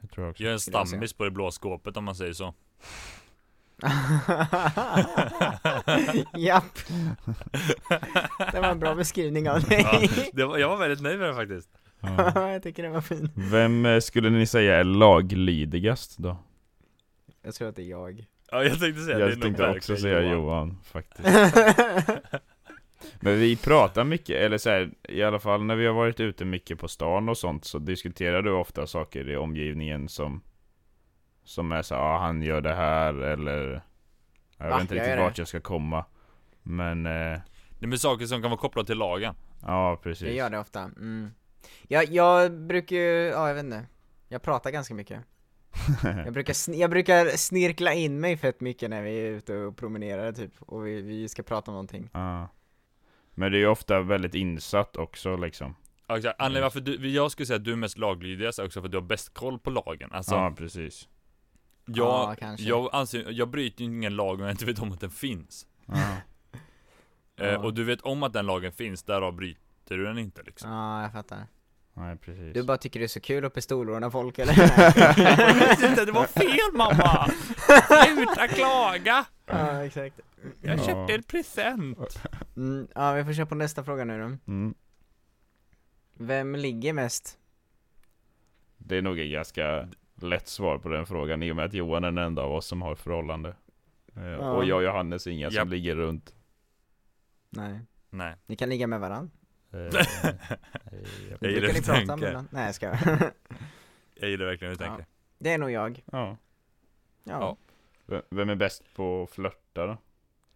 D: Det
B: (laughs)
D: tror jag också.
A: Jag är en
B: Skulle jag
A: stammis på det blå skåpet om man säger så.
B: Japp! Det var en
A: (laughs)
B: bra beskrivning av dig.
A: Ja, det var, jag var väldigt nöjd med det faktiskt.
D: Ja.
B: (laughs) jag tycker den var fin.
D: Vem eh, skulle ni säga är laglydigast då?
B: Jag tror att det är jag.
A: Ja, jag tänkte säga det är
D: Jag
A: nog
D: tänkte också
A: verkligen
D: säga Johan faktiskt. Men vi pratar mycket, eller så här, i alla fall när vi har varit ute mycket på stan och sånt så diskuterar du ofta saker i omgivningen som Som är så ja ah, han gör det här eller Jag
B: Va?
D: vet inte
B: Jag
D: riktigt
B: gör
D: vart jag ska komma Men, eh,
A: (laughs) Det är saker som kan vara kopplade till lagen.
D: ja precis
B: (laughs) Jag gör det ofta. Mm. Jag, jag brukar ju, ja jag vet inte. Jag pratar ganska
D: (laughs)
B: mycket. Jag brukar, sn- jag brukar snirkla in mig fett mycket när vi är ute och promenerar typ, och vi, vi ska prata om någonting.
D: Ja. Men du är ju ofta väldigt insatt också liksom
A: Ja, exakt. Anledningen varför du, jag skulle säga att du är mest laglydigast är också för att du har bäst koll på lagen. Alltså,
D: Ja precis
A: jag,
B: Ja, kanske.
A: jag, anser, jag bryter ju ingen lag om jag inte vet om att den finns.
D: Ja.
B: Ja.
A: Eh, och du vet om att den lagen finns, därav bryter du den inte
B: (laughs)
A: liksom.
B: Ja, jag fattar.
D: Nej precis
B: Du bara tycker det är så kul att pistolråna
A: (laughs)
B: folk eller? Nej.
A: Sluta, det var fel mamma! Sluta klaga!
B: ja, exakt.
A: Jag
D: Ja.
A: köpte en present!
B: Mm, ja, vi får köra på nästa fråga nu då.
D: mm.
B: Vem ligger mest?
D: Det är nog ett ganska lätt svar på den frågan i och med att Johan är den enda av oss som har förhållande. Eh,
B: Ja.
D: Och jag och Johannes är inga
A: Japp.
D: som ligger runt.
B: Nej. (laughs)
A: Nej.
B: Ni kan ligga med varandra. (laughs)
D: Eh, eh,
A: Jag
B: Ni
A: gillar hur
B: brukar ni
A: du
B: prata
A: tänker.
B: med varandra. Nej, jag skojar. (laughs)
A: Jag gillar verkligen hur du
B: Ja.
A: tänker.
B: Det är nog jag.
D: Ja.
B: Ja.
A: Ja.
D: V- Vem är bäst på att flörta då?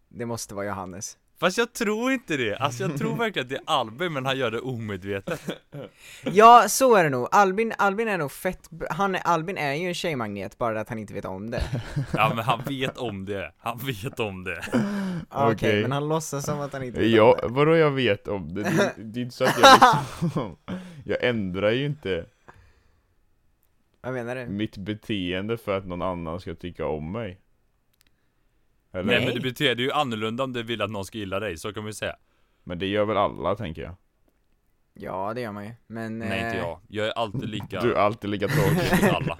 B: Det måste vara Johannes.
A: Fast jag tror inte det. Alltså jag tror verkligen att det är Albin, men han gör det omedvetet.
B: Ja, så är det nog. Albin, Albin är nog fett b- han är, Albin är ju en tjejmagnet, bara att han inte vet om det.
A: (laughs) Ja men han vet om det. Han vet om det.
B: Okej,
D: Okej.
B: men han låtsas som att han inte vet
D: Ja,
B: om det.
D: vadå jag vet om det? Det, det är inte så att jag liksom, (laughs) Jag ändrar ju inte
B: Vad menar du?
D: mitt beteende för att någon annan ska tycka om mig. Eller?
A: Nej
D: Nej,
A: men
D: men...
A: det betyder ju annorlunda om du vill att någon ska gilla dig, så kan vi säga.
D: det gör väl alla tänker jag?
B: Ja, det gör man ju. Men...
A: Nej inte
B: eh,
A: jag. Jag är alltid lika
D: Du är alltid lika tråkig.
A: (laughs) mot
B: (laughs)
A: alla.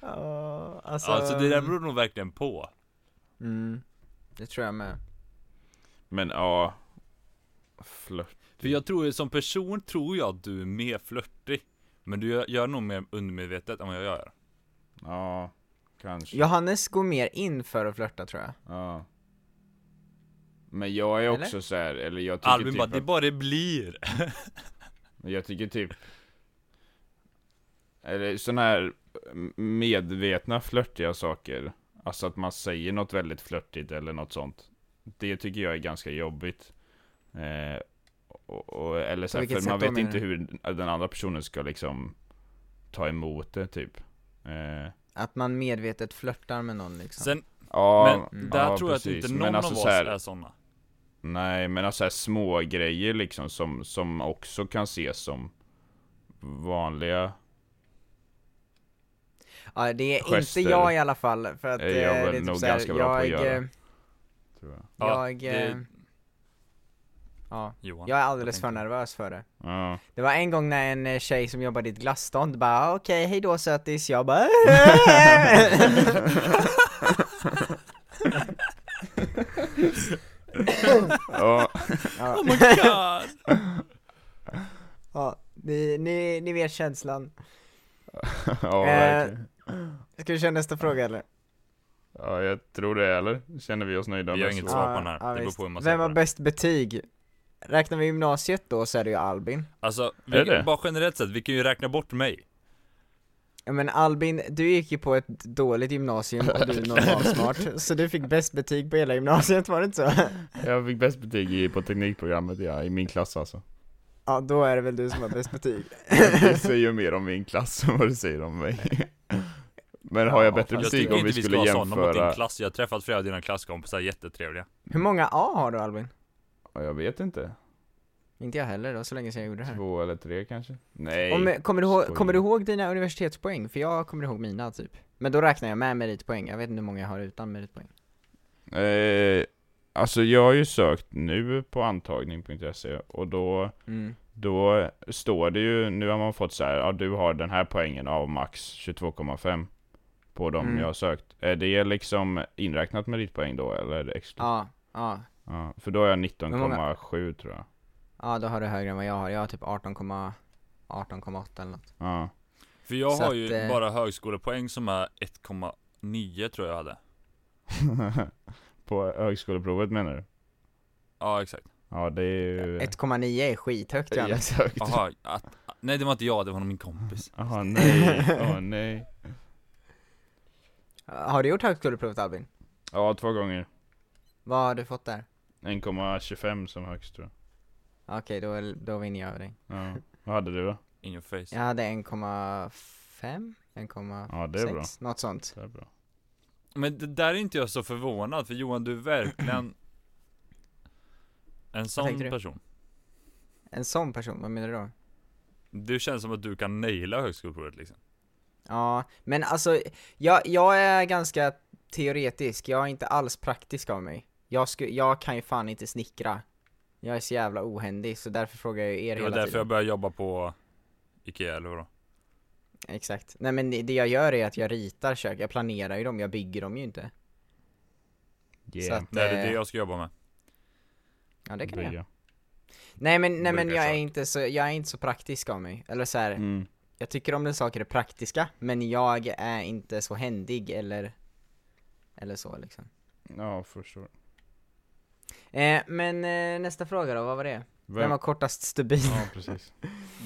B: Ja, alltså,
A: Alltså det där beror nog verkligen på.
B: mm, Det tror jag med.
D: Men ja... Flört.
A: För jag tror som person tror jag att du är mer flörtig. Men du gör, gör nog mer undermedvetet än vad jag gör.
D: Ja, kanske.
B: Johannes går mer in för att flörta tror jag.
D: Ja. Men jag är
B: Eller?
D: också så här, eller jag tycker
A: Albin
D: typ
A: bara, det
D: att-
A: bara det blir.
D: Men Jag tycker typ... Eller sådana här m- medvetna flörtiga saker. Alltså att man säger något väldigt flörtigt eller något sånt. Det tycker jag är ganska jobbigt. Eh, och, och, eller så här,
B: vilket
D: för man
B: sätt då,
D: vet inte
B: menar
D: hur den andra personen ska liksom ta emot det typ. Eh,
B: Att man medvetet flörtar med någon liksom.
A: Sen,
D: ja,
A: men
D: mm,
A: där
D: ja,
A: tror jag
D: precis.
A: att inte
D: Men
A: någon
D: alltså
A: av
D: så
A: oss
D: här-
A: är sådana.
D: Nej, men alltså här små grejer liksom som, som också kan ses som vanliga
B: ja, det är
D: Gester.
B: inte jag i alla fall, för att
D: Är
B: eh,
D: jag väl
B: det är typ
D: nog
B: såhär,
D: ganska bra på att
B: jag,
D: göra.
B: eh,
D: tror jag.
A: Ja,
B: Jag,
A: det-
B: eh, ja,
A: Johan. (laughs)
B: jag är alldeles
A: tänker
B: för nervös för det.
D: Ja.
B: Det var en gång när en eh, tjej som jobbade i ett glasstånd bara "Ah, okej, hej då sötis, jag bara (laughs)
D: Ja, (laughs)
B: ja,
A: Oh my god!
B: ja, ni, ni, ni vet känslan. Eh.
D: ja, verkligen.
B: Ska vi köra nästa fråga eller?
D: ja, jag tror det eller? Känner vi oss nöjda
A: Vi har
D: med
A: inget
D: så?
A: svar på den här. Det beror
B: visst.
A: på hur man ser
B: Vem
A: på
B: har
A: det.
B: bäst betyg? Räknar vi gymnasiet då så är det ju Albin.
A: Alltså, vi,
D: Är det?
A: bara generellt sett, vi kan ju räkna bort mig.
B: Ja, Men Albin, du gick ju på ett dåligt gymnasium och du är
A: (laughs)
B: normalsmart, så du fick bäst betyg på hela gymnasiet, var det inte så? (laughs)
D: Jag fick bäst betyg i, på teknikprogrammet ja, i min klass alltså.
B: (laughs) Ja, då är det väl du som har bäst betyg.
D: Det säger ju mer om min klass än vad det säger
A: (laughs)
D: om mig. Men har jag
B: Ja,
D: bättre
A: Jag
B: fast-
D: betyg
A: tycker
D: om
A: inte
D: vi
A: vi ska
D: skulle
A: ha sådana mot din
D: jämföra?
A: klass. Jag har träffat flera av dina klasskompisar, jättetrevliga.
B: Hur många A har du Albin?
D: Ja, jag vet inte.
B: Inte jag heller, det var så länge sedan jag gjorde det här.
D: Två eller tre kanske? Nej.
B: Om, kommer, du ihåg,
D: skoj.
B: kommer du ihåg dina universitetspoäng? För jag kommer ihåg mina typ. Men då räknar jag med meritpoäng, jag vet inte hur många jag har utan meritpoäng.
D: Eh, alltså jag har ju sökt nu på antagning.se E, och då,
B: Mm.
D: då står det ju, nu har man fått så här, ja du har den här poängen av max 22,5 på de
B: Mm.
D: jag har sökt. Är det liksom inräknat meritpoäng då eller är det extra?
B: Ja, ja,
D: Ja, för då har jag
B: Hur många?
D: 19,7 tror jag.
B: ja då har du högre än vad jag har, jag har typ 18,8 18,8 eller något.
D: Ja. (laughs)
A: För jag
B: Så
A: har
B: att,
A: ju
B: eh,
A: bara högskolepoäng som är 1,9 tror jag hade.
D: på högskoleprovet menar du?
A: Ja exakt.
D: Ja det är ju...
A: Eh.
D: (laughs)
B: 1,9 är skithögt
D: jag
B: Johannes.
D: sökt.
A: Aha, att, nej det var inte jag, det var nog min kompis.
B: Mm.
D: Aha,
B: (laughs)
D: nej, åh nej.
B: Har du gjort högskoleprovet Albin?
D: Ja, två gånger.
B: Vad har du fått där?
D: 1,25 som högst tror jag.
B: Okej, då, då vinner jag över dig.
D: Ja. Vad hade du då?
A: In your face.
B: Jag hade 1,5, 1,6,
D: Ja, det är bra.
B: något sånt.
D: Det är bra.
A: Men det där är inte jag så förvånad för Johan du är verkligen en sån
B: tänker du?
A: person.
B: En sån person, vad menar du då?
A: Du känns som att du kan naila högskoleprovet liksom.
B: Ja, men alltså, jag, jag är ganska teoretisk, jag är inte alls praktisk av mig. Jag, sku, jag kan ju fan inte snickra. Jag är så jävla ohändig, så därför frågar jag ju er
A: Det var
B: hela
A: därför jag
B: tiden.
A: började jobba på Ikea eller vadå?
B: Exakt. Nej men det- det jag gör är att jag ritar kök, jag planerar ju dem, jag bygger dem ju inte. Så att,
A: Nej det är
B: eh,
A: det jag ska jobba med.
B: Ja det kan jag.
D: Bygga.
B: göra. Nej men, nej, men
A: Bygga
B: jag är
A: kök.
B: inte så, jag är inte så praktisk av mig. Eller så här,
D: Mm.
B: jag tycker om när saker är praktiska, men jag är inte så händig eller, eller så liksom.
D: Ja, förstår.
B: Eh, men eh, nästa fråga då, vad var det? Vem har kortast stubin?
E: Ja, precis.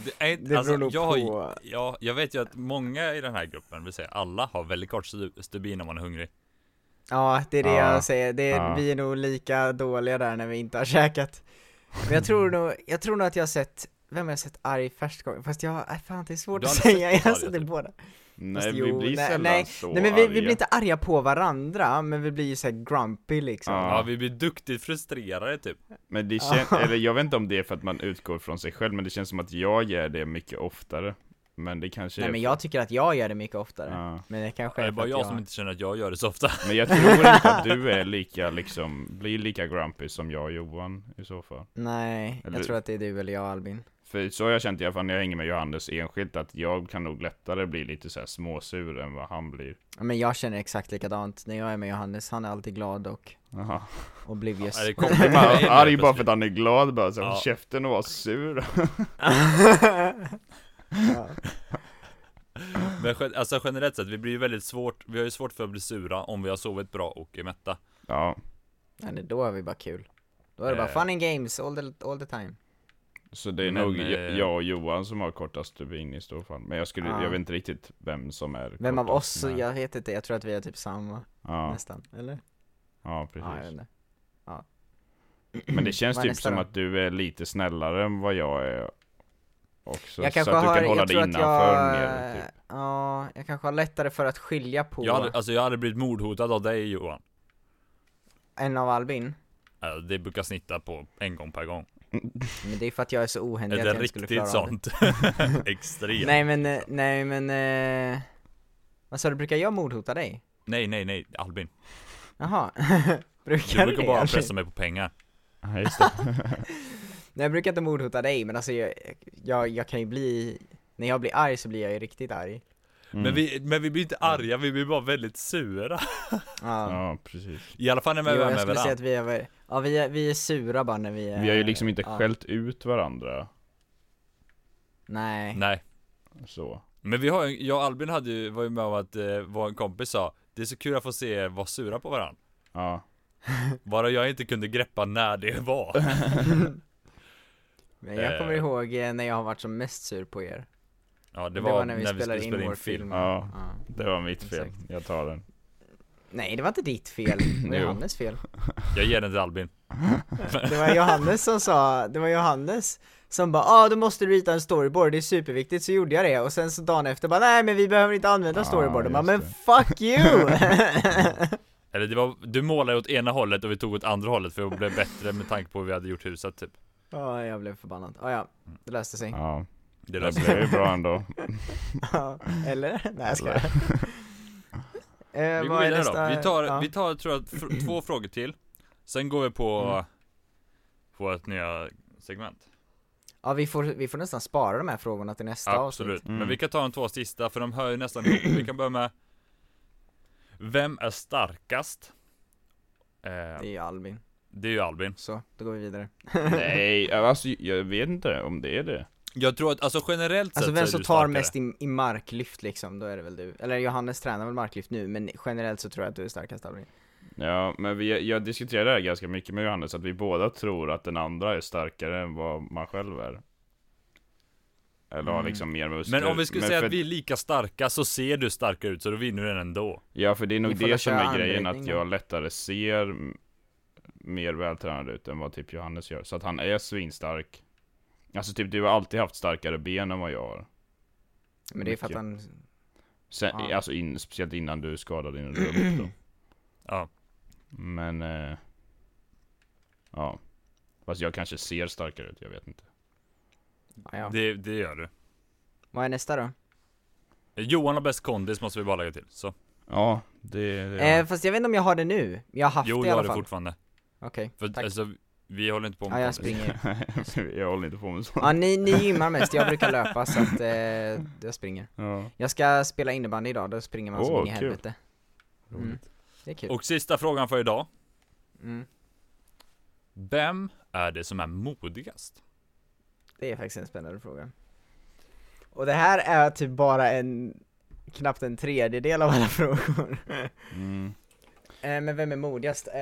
A: Det, är,
B: (laughs) Det
A: inte- alltså,
B: beror nog
A: jag, har ju-
B: på.
A: ja, jag vet ju att många i den här gruppen, vill säga alla, har väldigt kort stu- stubin om man är hungrig.
B: Ja, det är det
D: Ja.
B: jag säger. Det är,
D: Ja.
B: Vi är nog lika dåliga där när vi inte har käkat. Men jag tror nog, jag tror nog att jag har sett, vem har jag sett arg först gången? Fast jag, nej, fan det är svårt
A: Du har
B: att
A: aldrig
B: säga,
A: sett oss
B: jag har
A: arga,
B: sett det
A: typ.
B: båda.
D: Nej
B: Fast
D: vi
B: jo,
D: blir
B: nej,
D: sällan
B: nej.
D: så
B: Nej men vi, vi
D: arga.
B: blir inte arga på varandra, men vi blir ju såhär grumpy liksom.
D: Ja.
A: Ja, vi blir duktigt frustrerade typ.
D: Men det
B: (laughs)
D: känns, eller jag vet inte om det är för att man utgår från sig själv, men det känns som att jag gör det mycket oftare. Men det kanske
B: nej
D: är
B: men jag tycker att jag gör det mycket oftare.
D: typ. Ja.
B: Men det kanske
A: Det
B: är
A: är
B: för
A: bara
B: att
A: jag som inte känner att jag gör det så ofta.
D: Men jag tror inte
B: (laughs)
D: att du är lika liksom, blir lika grumpy som jag och Johan i så fall.
B: Nej,
D: Eller-
B: jag tror att det är du eller jag Albin.
D: För så har jag känt i alla fall när jag hänger med Johannes enskilt, att jag kan nog lättare bli lite så här småsur än vad han blir.
B: Ja, Men jag känner exakt likadant när jag är med Johannes, han är alltid glad och
D: Jaha.
B: oblivious.
A: Ja, det
B: (laughs)
D: Det är
A: kommer
D: bara
A: grejer
D: arg bara
A: plötsligt.
D: för att han är glad bara, så här,
A: Ja.
D: "Håll käften och var sur.
B: ja.
A: Men gen- alltså generellt sett, vi blir ju väldigt svårt, vi har ju svårt för att bli sura om vi har sovit bra och är mätta.
D: Ja,
B: Nej, nej, då har vi bara kul. Då är det bara
A: Eh.
B: fun and games all the, all the time.
D: så det är
A: Men,
D: nog
A: eh,
D: jag- jag och Johan som har kortast stubin i så fall. Men jag skulle,
B: Ja.
D: jag vet inte riktigt vem som är
B: Vem av
D: kortast.
B: oss,
D: Nej.
B: jag vet inte, jag tror att vi är typ samma
D: Ja,
B: nästan, eller?
D: ja
B: Ja, jag
D: precis.
B: vet inte.
D: Men det känns
B: Vad är
D: typ
B: nästa
D: som
B: då?
D: att du är lite snällare än vad jag är också.
B: Jag
D: så
B: kanske
D: att du
B: har,
D: kan hålla
B: jag
D: dig
B: tror att
D: innanför
B: jag,
D: mer. Typ.
B: ja, jag kanske har lättare för att skilja på
A: Jag hade, alltså jag hade blivit mordhotad av dig Johan.
B: en av Albin.
A: Alltså, det brukar snitta på en gång per gång.
B: Men det är för att jag är så ohändig
A: Är
B: att
A: det
B: jag inte skulle klara
A: riktigt
B: av det.
A: sånt? (laughs) Extremt.
B: Nej men, eh, nej men, eh, vad sa du, brukar jag mordhota dig?
A: nej, nej, nej, Albin.
B: Jaha, (laughs)
A: Du
B: brukar du
A: brukar
B: det,
A: bara
B: Albin?
A: pressa mig på pengar.
D: Ja, just det.
B: Nej jag brukar inte mordhota dig men alltså jag, jag, jag kan ju bli, när jag blir arg så blir jag ju riktigt arg
D: Mm.
A: Men, vi, men vi blir inte arga, vi blir bara väldigt sura.
B: Ja,
D: Ja, precis.
A: I alla fall när vi
B: jo,
A: är
B: jag
A: med
B: skulle säga
A: varandra.
B: att vi är, ja vi är, vi är sura bara när vi är
D: Vi har ju liksom inte
B: ja.
D: skällt ut varandra
B: Nej,
A: Nej.
D: så.
A: Men vi har ju- jag och Albin hade ju, var ju med om att eh, vår kompis sa Det är så kul att få se er vara sura på varandra.
D: Ja.
A: Bara jag inte kunde greppa när det
B: (laughs)
A: var.
B: men jag kommer
A: Eh.
B: ihåg eh, när jag har varit som mest sur på er
A: Ja, det var, när, vi
B: spelade
A: skulle spela in,
B: vår
A: film.
D: Ja. Det var mitt fel.
B: Exakt.
D: Jag tar den.
B: Nej det var inte
A: (clears throat)
B: ditt fel, det var
D: Jo.
B: Johannes fel
A: Jag ger den till Albin.
B: Det var Johannes som sa, det var Johannes som bara ah, då måste du rita en storyboard, det är superviktigt, så gjorde jag det och sen så dagen efter bara nej men vi behöver inte använda
D: Ah,
B: storyboarden, bara, men
D: just
B: fuck
D: (laughs)
B: you!
A: Eller det var, du målade åt ena hållet och vi tog åt andra hållet för att bli bättre med tanke på hur vi hade gjort huset typ.
B: Ja, jag blev förbannad. Ah, ja, det löste sig.
D: Ja.
A: Det
D: Det
A: löser (laughs)
D: blev ju bra ändå.
B: (laughs) Ja, Eller? Nej jag
D: (laughs)
B: skojar. Eh,
A: Vi går
B: vad är
A: vidare
B: nästa?
A: då. Vi tar,
B: Ja.
A: vi tar tror jag, fr-
B: (clears throat)
A: två frågor till. Sen går vi på,
B: Mm.
A: på ett nya segment.
B: Ja vi får, vi får nästan spara de här frågorna till nästa
A: Absolut.
B: avsnitt.
D: Mm.
A: Men vi kan ta de två sista för de hör ju nästan ihop. Vi kan börja med Vem är starkast? Eh,
B: Det är ju Albin.
A: det är ju Albin.
B: Så, då går vi vidare. (laughs)
D: Nej, alltså jag vet inte om det är det.
A: Jag tror att, alltså generellt
B: Alltså
A: sett
B: vem
A: så är
B: som
A: du
B: tar
A: starkare.
B: mest i, i marklyft liksom, då är det väl du. Eller Johannes tränar väl marklyft nu, men generellt så tror jag att du är starkast Albin.
D: Ja, men vi, jag diskuterar det här ganska mycket med Johannes, att vi båda tror att den andra är starkare än vad man själv är. Eller har
B: Mm.
D: liksom mer muskler.
A: Men om vi skulle
D: Men
A: säga
D: för-
A: att vi är lika starka så ser du starkare ut så då vinner du den ändå.
D: Ja, för det är nog
B: Ni får
D: det
B: väl
D: som
B: köra
D: är grejen, att
B: armböjning
D: jag lättare ser m- mer vältränad ut än vad typ Johannes gör. Så att han är svinstark. Alltså typ du har alltid haft starkare ben än vad jag har.
B: Men det är för att
D: Mycket.
B: han,
D: Sen,
B: Ja.
D: Alltså in, speciellt innan du skadade din rump då.
A: Ja.
D: Men... Eh, ja. Fast jag kanske ser starkare ut, jag vet inte.
B: ja, ja.
A: Det, det gör du.
B: Vad är nästa då?
A: Johan har bäst kondis måste vi bara lägga till. Så.
D: Ja, det... det
B: Eh,
D: (laughs)
B: fast jag vet inte om jag har det nu, jag har haft
A: Jo,
B: det i
A: jag har
B: alla
A: det
B: fall.
A: fortfarande.
B: Okej,
A: För
B: tack.
A: alltså, vi håller inte på
B: ja
A: med
B: jag
A: kondis.
B: springer.
D: jag håller inte på med sånt.
B: Ja ni, ni gymmar mest, jag brukar löpa så att eh, jag springer.
D: Ja.
B: Jag ska spela innebandy idag, då springer man
D: Åh,
B: som in i
D: kul.
B: helvete. Mm. Det är kul.
A: Och sista frågan för idag.
B: Mm.
A: Vem är det som är modigast?
B: Det är faktiskt en spännande fråga. Och det här är typ bara en, knappt en tredjedel av alla (laughs) frågor.
D: Mm.
B: eh, men vem är modigast? Eh,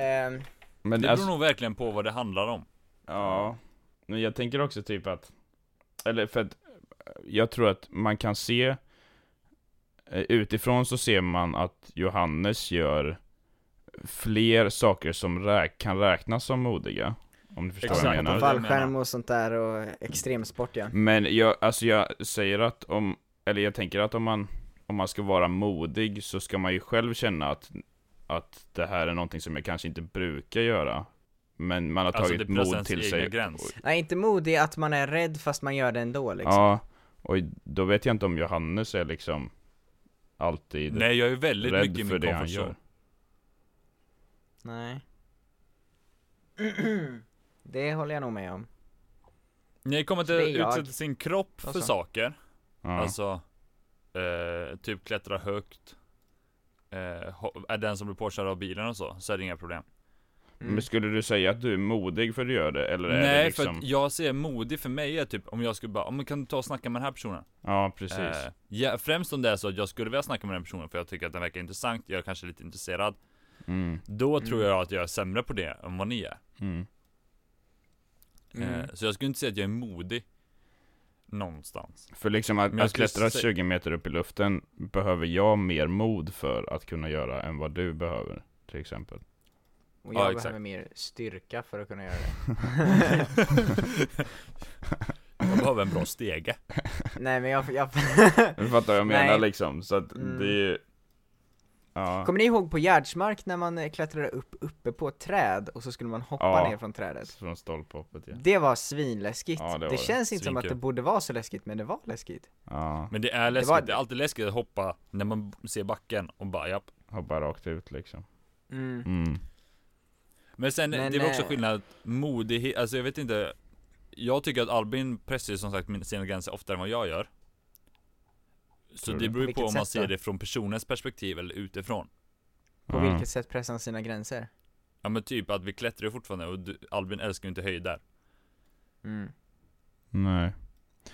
D: Men
A: Det
D: alltså,
A: beror nog verkligen på vad det handlar om.
D: ja. Men jag tänker också typ att, eller för att jag tror att man kan se, eh, utifrån så ser man att Johannes gör fler saker som räk- kan räknas som modiga. Om du förstår vad
A: Exakt.
D: jag menar.
A: det jag menar.
B: Fallskärm och sånt där och extremsport ja.
D: Men jag, alltså jag säger att om, eller jag tänker att om man, om man ska vara modig så ska man ju själv känna att, att det här är någonting som jag kanske inte brukar göra. Men man har
A: Alltså,
D: tagit
A: det pressar
D: mod
A: ens
D: till
A: egna
D: sig.
A: gräns.
B: Nej inte modig att man är rädd fast man gör det ändå liksom.
D: Ja, och då vet jag inte om Johannes är liksom alltid
A: Nej jag är väldigt
D: rädd
A: mycket i
D: för
A: min
D: det han
A: comfort zone.
D: gör.
B: Nej. (clears throat) det håller jag nog med om.
A: Ni kommer
B: Så det är
A: inte
B: jag.
A: utsätta sin kropp för
B: Alltså.
A: saker.
D: Ja.
A: Alltså, eh, typ klättra högt. Eh, ho- är den som blir påkörd av bilen och så, så är det inga problem.
B: Mm.
D: Men skulle du säga att du är modig för att du gör det? Eller är det
A: Nej,
D: liksom...
A: för att jag ser modig för mig är typ om jag skulle bara, "Ja, men kan du ta och snacka med den här personen?
D: Ja, precis.
A: Eh, ja, främst om det är så att jag skulle vilja snacka med den personen för jag tycker att den verkar intressant, jag är kanske lite intresserad.
D: Mm.
A: Då tror
B: Mm.
A: jag att jag är sämre på det än vad ni är.
D: Mm.
A: Eh, så jag skulle inte säga att jag är modig. Någonstans.
D: För liksom att,
A: Men jag
D: att
A: skulle
D: klättra
A: sä-
D: 20 meter upp i luften behöver jag mer mod för att kunna göra än vad du behöver. Till exempel. (laughs)
B: Och
A: Ja,
B: jag
A: exakt.
B: behöver mer styrka för att kunna göra (laughs) det.
A: Jag behöver en bra stege.
B: Nej men jag,
A: (laughs)
B: jag
D: Du fattar vad jag menar
B: Nej.
D: liksom. Så att
B: Mm.
D: det är ju... Ja.
B: Kommer ni ihåg på Gärdsmark när man eh, klättrade upp uppe på ett träd och så skulle man hoppa
D: Ja.
B: ner från trädet?
D: Från stolphoppet ja.
B: Det var svinläskigt.
D: Ja, det
B: det,
D: var det.
B: känns inte som att det
A: Svinkul.
B: borde vara så läskigt, men det var läskigt.
D: ja.
A: Men det är läskigt, det,
B: var-
A: är alltid läskigt att hoppa när man ser backen och bara japp.
D: Hoppa rakt ut liksom.
B: Mm.
D: Mm.
A: Men sen,
B: Men,
A: det var också
B: eh,
A: skillnad, modighet, alltså jag vet inte Jag tycker att Albin pressar ju som sagt min- sina gränser oftare än vad jag gör Så
D: Tror
A: det
D: du?
A: beror ju på
B: Vilket
A: om man
B: sätt
A: ser
B: då?
A: det från personens perspektiv eller utifrån
B: På
D: Ja.
A: Mm.
B: vilket sätt pressar han sina gränser?
A: Ja men typ att vi klättrar ju fortfarande och du, Albin älskar ju inte höjder
B: Mm.
D: Nej.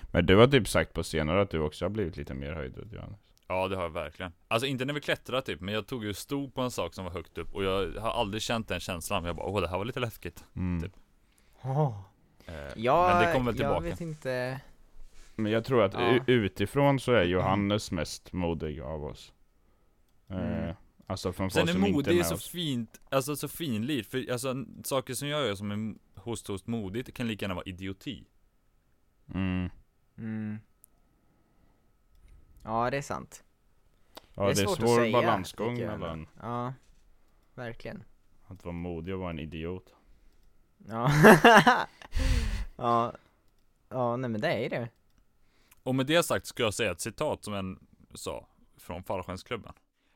D: Men du har typ sagt på senare att du också har blivit lite mer höjdrädd Johannes.
A: Ja det har jag verkligen Alltså inte när vi klättrar typ, men jag tog ju stod på en sak som var högt upp och jag har aldrig känt den känslan Jag bara åh det här var lite läskigt
D: Mm.
A: Typ. eh,
B: Jag,
A: Men det kommer väl
B: jag
A: tillbaka
B: vet inte.
D: Men jag tror att
B: Ja.
D: u- utifrån så är Johannes mest modig av oss. Eh,
B: Mm.
D: alltså från
A: Sen
D: folk
A: är
D: som inte är
A: modig är
D: med
A: så
D: oss.
A: fint, alltså så finlir, för alltså n- saker som jag gör som är host host modigt kan lika gärna vara idioti.
D: Mm.
B: Mm. Ja, det är sant.
D: Ja, det är,
B: svårt att
D: svår
B: säga,
D: balansgång
B: tycker jag.
D: mellan
B: Ja, verkligen.
D: att vara modig och vara en idiot.
B: Ja. (laughs) ja. Ja, nej men det är det.
A: Och med det sagt ska jag säga ett citat som en sa från Fallskärmsklubben.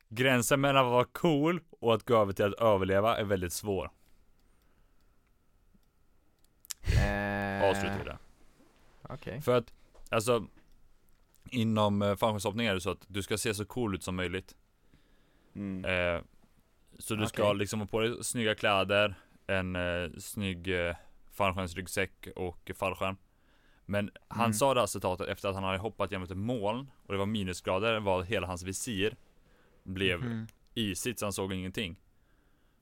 A: Gränsen mellan att vara cool och att gå över till att överleva är väldigt svår.
B: Eh,
A: Avslutar vi det.
B: Okej.
A: För att, alltså Inom eh, fallskärmshoppning är det så att du ska se så cool ut som möjligt.
D: Mm.
A: Eh, så du ska
B: Okej.
A: liksom ha på dig snygga kläder, en eh, snygg eh, fallskärmsryggsäck och fallskärm. Men han
B: Mm.
A: sa det här citatet efter att han hade hoppat genom ett moln och det var minusgrader, var hela hans visir blev
B: Mm.
A: isigt så han såg ingenting.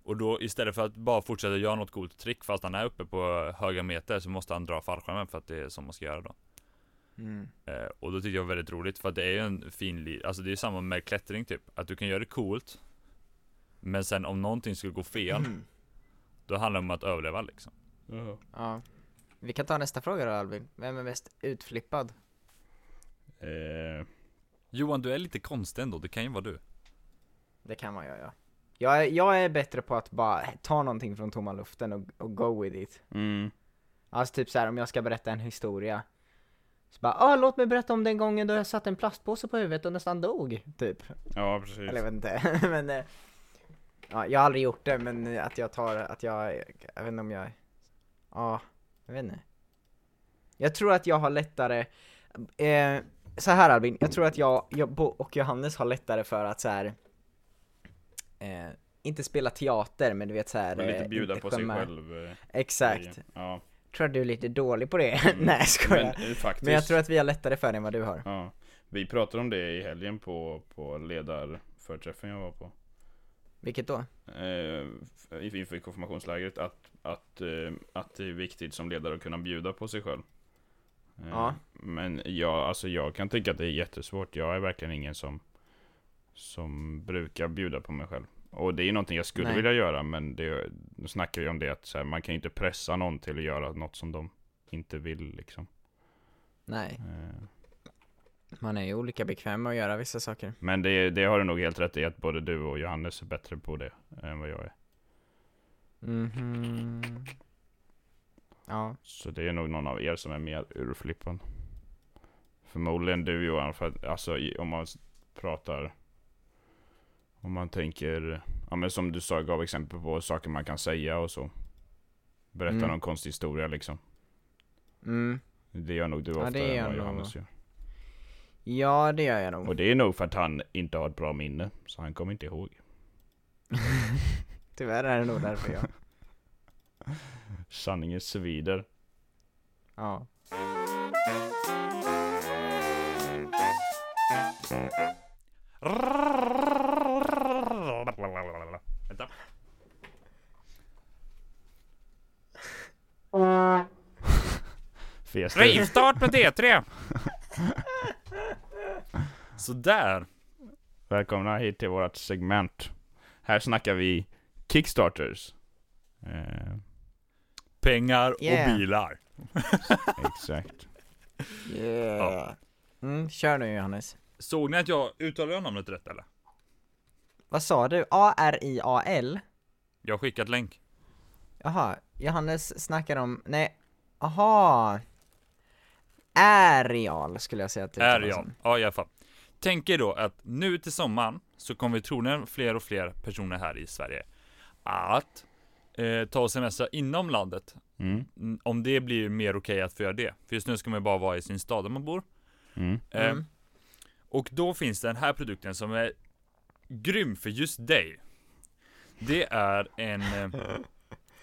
A: Och då istället för att bara fortsätta göra något coolt trick fast han är uppe på höga meter så måste han dra fallskärmen för att det är som man ska göra då.
B: Mm.
A: Eh, och då tyckte jag det var väldigt roligt för att det är ju en fin li- Alltså det är ju samma med klättring typ. Att du kan göra det coolt. Men sen om någonting skulle gå fel. Då handlar det om att överleva liksom.
B: Ja. Vi kan ta nästa fråga då Albin. Vem är mest utflippad?
D: Eh,
A: Johan du är lite konstig ändå. Det kan ju vara du.
B: Det kan man göra. Jag är, jag är bättre på att bara ta någonting från tomma luften och, och go with it.
D: mm.
B: Alltså typ så här om jag ska berätta en historia. Så bara, ah, låt mig berätta om den gången då jag satte en plastpåse på huvudet och nästan dog. Typ.
D: Ja, precis.
B: Eller jag vet inte. (laughs) men, eh, ja, jag har aldrig gjort det men eh, att jag tar, att jag, jag vet inte om jag, ja, jag vet inte. Jag tror att jag har lättare, eh, så här Albin, jag tror att jag, jag Bo- och Johannes har lättare för att så här. Eh, inte spela teater men du vet så här.
D: Men lite
B: eh,
D: bjuda
B: inte
D: på sig
B: skämma-
D: själv. eh,
B: Exakt.
D: grejen. Ja.
B: Tror att du är lite dålig på det. (laughs) Nej jag skojar.
D: Men
B: Men,
D: eh, faktiskt.
B: jag tror att vi har lättare för det än vad du har.
D: ja. Vi pratade om det i helgen på, på ledarförträffen jag var på.
B: Vilket då?
D: eh, inf- inför konfirmationslägret att, att, eh, att det är viktigt som ledare att kunna bjuda på sig själv. Eh,
B: Ja.
D: Men jag, alltså jag kan tycka att det är jättesvårt. Jag är verkligen ingen som, som brukar bjuda på mig själv. Och det är ju någonting jag skulle
B: Nej.
D: vilja göra, men det, nu snackar vi om det att så här, man kan ju inte pressa någon till att göra något som de inte vill liksom.
B: Nej,
D: Eh,
B: man är ju olika bekväm med att göra vissa saker.
D: Men det, det har du nog helt rätt i att både du och Johannes är bättre på det än vad jag är.
B: Mhm. Ja,
D: Så det är nog någon av er som är mer ur flippan. Förmodligen du Johan, för att, alltså i- om man s- pratar... Om man tänker, ja men som du sa, gav exempel på saker man kan säga och så. Berätta
B: Mm.
D: någon konstig historia liksom.
B: mm.
D: Det gör nog du
B: Ja, det
D: oftare
B: gör
D: än vad
B: jag nog.
D: Johannes gör.
B: ja det gör jag nog.
D: Och det är nog för att han inte har ett bra minne, så han kommer inte ihåg.
B: Tyvärr är det nog
A: (laughs)
B: därför jag.
D: Sanningen svider.
B: Ja.
D: (laughs)
A: Vänta.
D: Fes du?
A: Rivstart med T3! Sådär.
D: Välkomna hit till vårt segment. Här snackar vi Kickstarters. Eh,
A: Pengar
B: Yeah.
A: och bilar.
D: exakt.
B: Yeah. Mm, kör nu Johannes.
A: Såg ni att jag uttalade namnet rätt eller?
B: Vad sa du? A-R-I-A-L?
A: Jag har skickat länk.
B: Jaha, Johannes snackar om, nej, aha. Aerial skulle jag säga att det
A: Är
B: uttalas
A: jag.
B: som.
A: Ja i alla fall. Tänk er då att nu till sommaren så kommer vi troligen fler och fler personer här i Sverige att eh, ta och semestra inom landet.
D: Mm,
A: Mm, Om det blir mer okej att få göra det. För just nu ska man ju bara vara i sin stad där man bor.
D: mm,
A: Eh,
B: Mm.
A: Och då finns den här produkten som är grym för just dig. Det är en eh,
B: (laughs)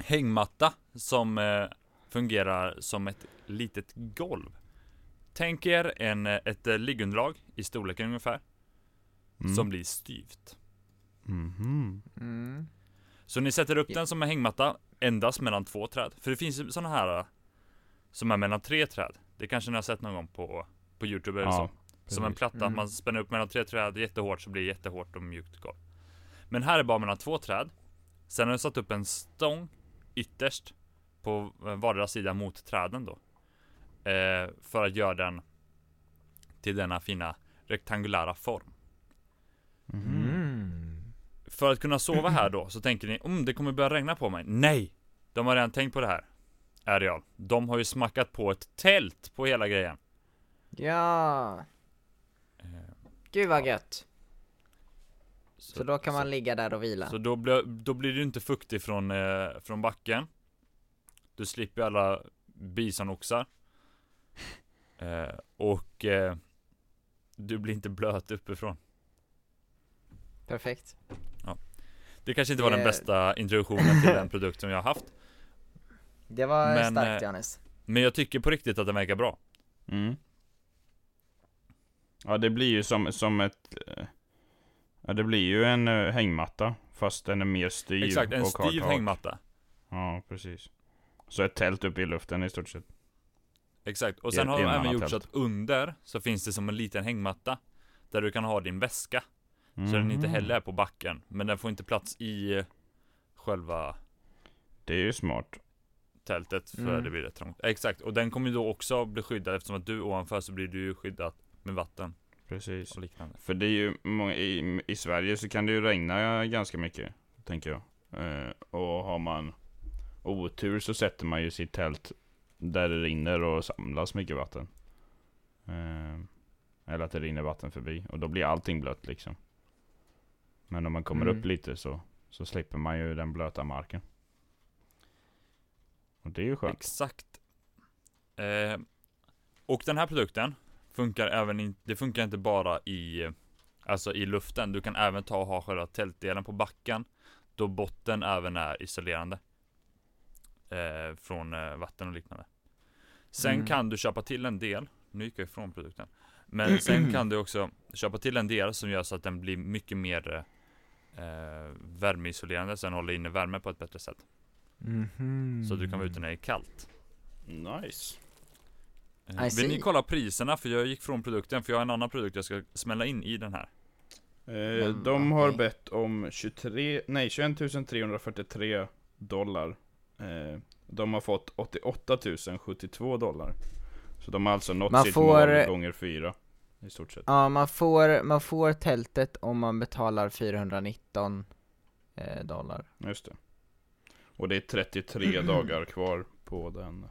A: hängmatta som eh, fungerar som ett litet golv. Tänk er en, eh, ett eh, liggunderlag i storleken ungefär,
D: mm,
A: som blir styvt.
D: mhm.
B: Mm.
A: Så ni sätter upp den som en hängmatta endast mellan två träd. För det finns ju sådana här eh, som är mellan tre träd. Det kanske ni har sett någon gång på, på Youtube eller så.
D: Ja,
A: Som en
D: precis.
A: platta,
B: Mm.
A: man spänner upp mellan tre träd jättehårt så blir det jättehårt och mjukt golv. Men här är bara mellan två träd. Sen har jag satt upp en stång ytterst på eh, vardera sida mot träden då. Eh, för att göra den till denna fina rektangulära form.
D: Mhm.
B: Mm.
A: För att kunna sova här då så tänker ni om det kommer börja regna på mig. Nej! De har redan tänkt på det här. Areal. De har ju smackat på ett tält på hela grejen. Eh,
B: Ja. Gud vad gött.
A: Så,
B: Så då kan man ligga där och vila.
A: Så då, blir då blir du inte fuktig från, eh, från backen. Du slipper alla bisonoxar. Eh, och eh, du blir inte blöt uppifrån.
B: Perfekt.
A: Det kanske inte var den
B: Det-
A: bästa introduktionen till den produkten jag har haft.
B: Det var
A: Men,
B: starkt
A: eh,
B: Johannes.
A: Men jag tycker på riktigt att den verkar bra.
D: Mm. Ja, det blir ju som, som ett... eh, Ja, det blir ju en eh, hängmatta. Fast den är mer styv
A: Exakt, en
D: och har
A: styv
D: tak.
A: hängmatta.
D: Ja, precis. Så ett tält uppe i luften i stort sett.
A: Exakt, och
D: I
A: sen
D: en-
A: har
D: i
A: de
D: en
A: även
D: annan
A: gjort så
D: tält.
A: att under så finns det som en liten hängmatta. Där du kan ha din väska. Så den inte
D: Mhm.
A: heller är på backen. Men den får inte plats i eh, själva
D: Det är ju smart.
A: tältet för
B: Mm.
A: det blir rätt trångt. Exakt, och den kommer ju då också bli skyddad eftersom att du är ovanför så blir du ju skyddad med vatten
D: Precis.
A: och liknande.
D: För det är ju många, i, i Sverige så kan det ju regna ganska mycket, tänker jag. Eh, och har man otur så sätter man ju sitt tält där det rinner och samlas mycket vatten. Eh, eller att det rinner vatten förbi, och då blir allting blött liksom. Men om man kommer
B: Mm.
D: upp lite så, så slipper man ju den blöta marken. Och det är ju skönt.
A: Exakt. Eh, och den här produkten funkar även in, det funkar inte bara i, eh, alltså i luften. Du kan även ta och ha själva tältdelen på backen då botten även är isolerande. Eh, från eh, vatten och liknande. Sen
B: Mm.
A: kan du köpa till en del, nu gick jag ifrån produkten. Men sen kan du också köpa till en del som gör så att den blir mycket mer eh, eh, värmeisolerande så den håller inne värme på ett bättre sätt. Så du kan vara ute när det är kallt.
D: Nice.
A: Eh,
B: I
A: Vill
B: see.
A: ni kolla priserna? För jag gick från produkten, för jag har en annan produkt jag ska smälla in i den här.
D: Eh,
B: Men,
D: de har
B: okej.
D: bett om 23, nej 21 343 dollar. Eh, de har fått 88 072 dollar. Så de har alltså nått
B: Man
D: sitt
B: får-
D: mål gånger fyra. I stort sett.
B: Ja, man får, man får tältet om man betalar 419 eh, dollar.
D: Just det. Och det
B: (clears throat)
D: är 33 dagar kvar på den.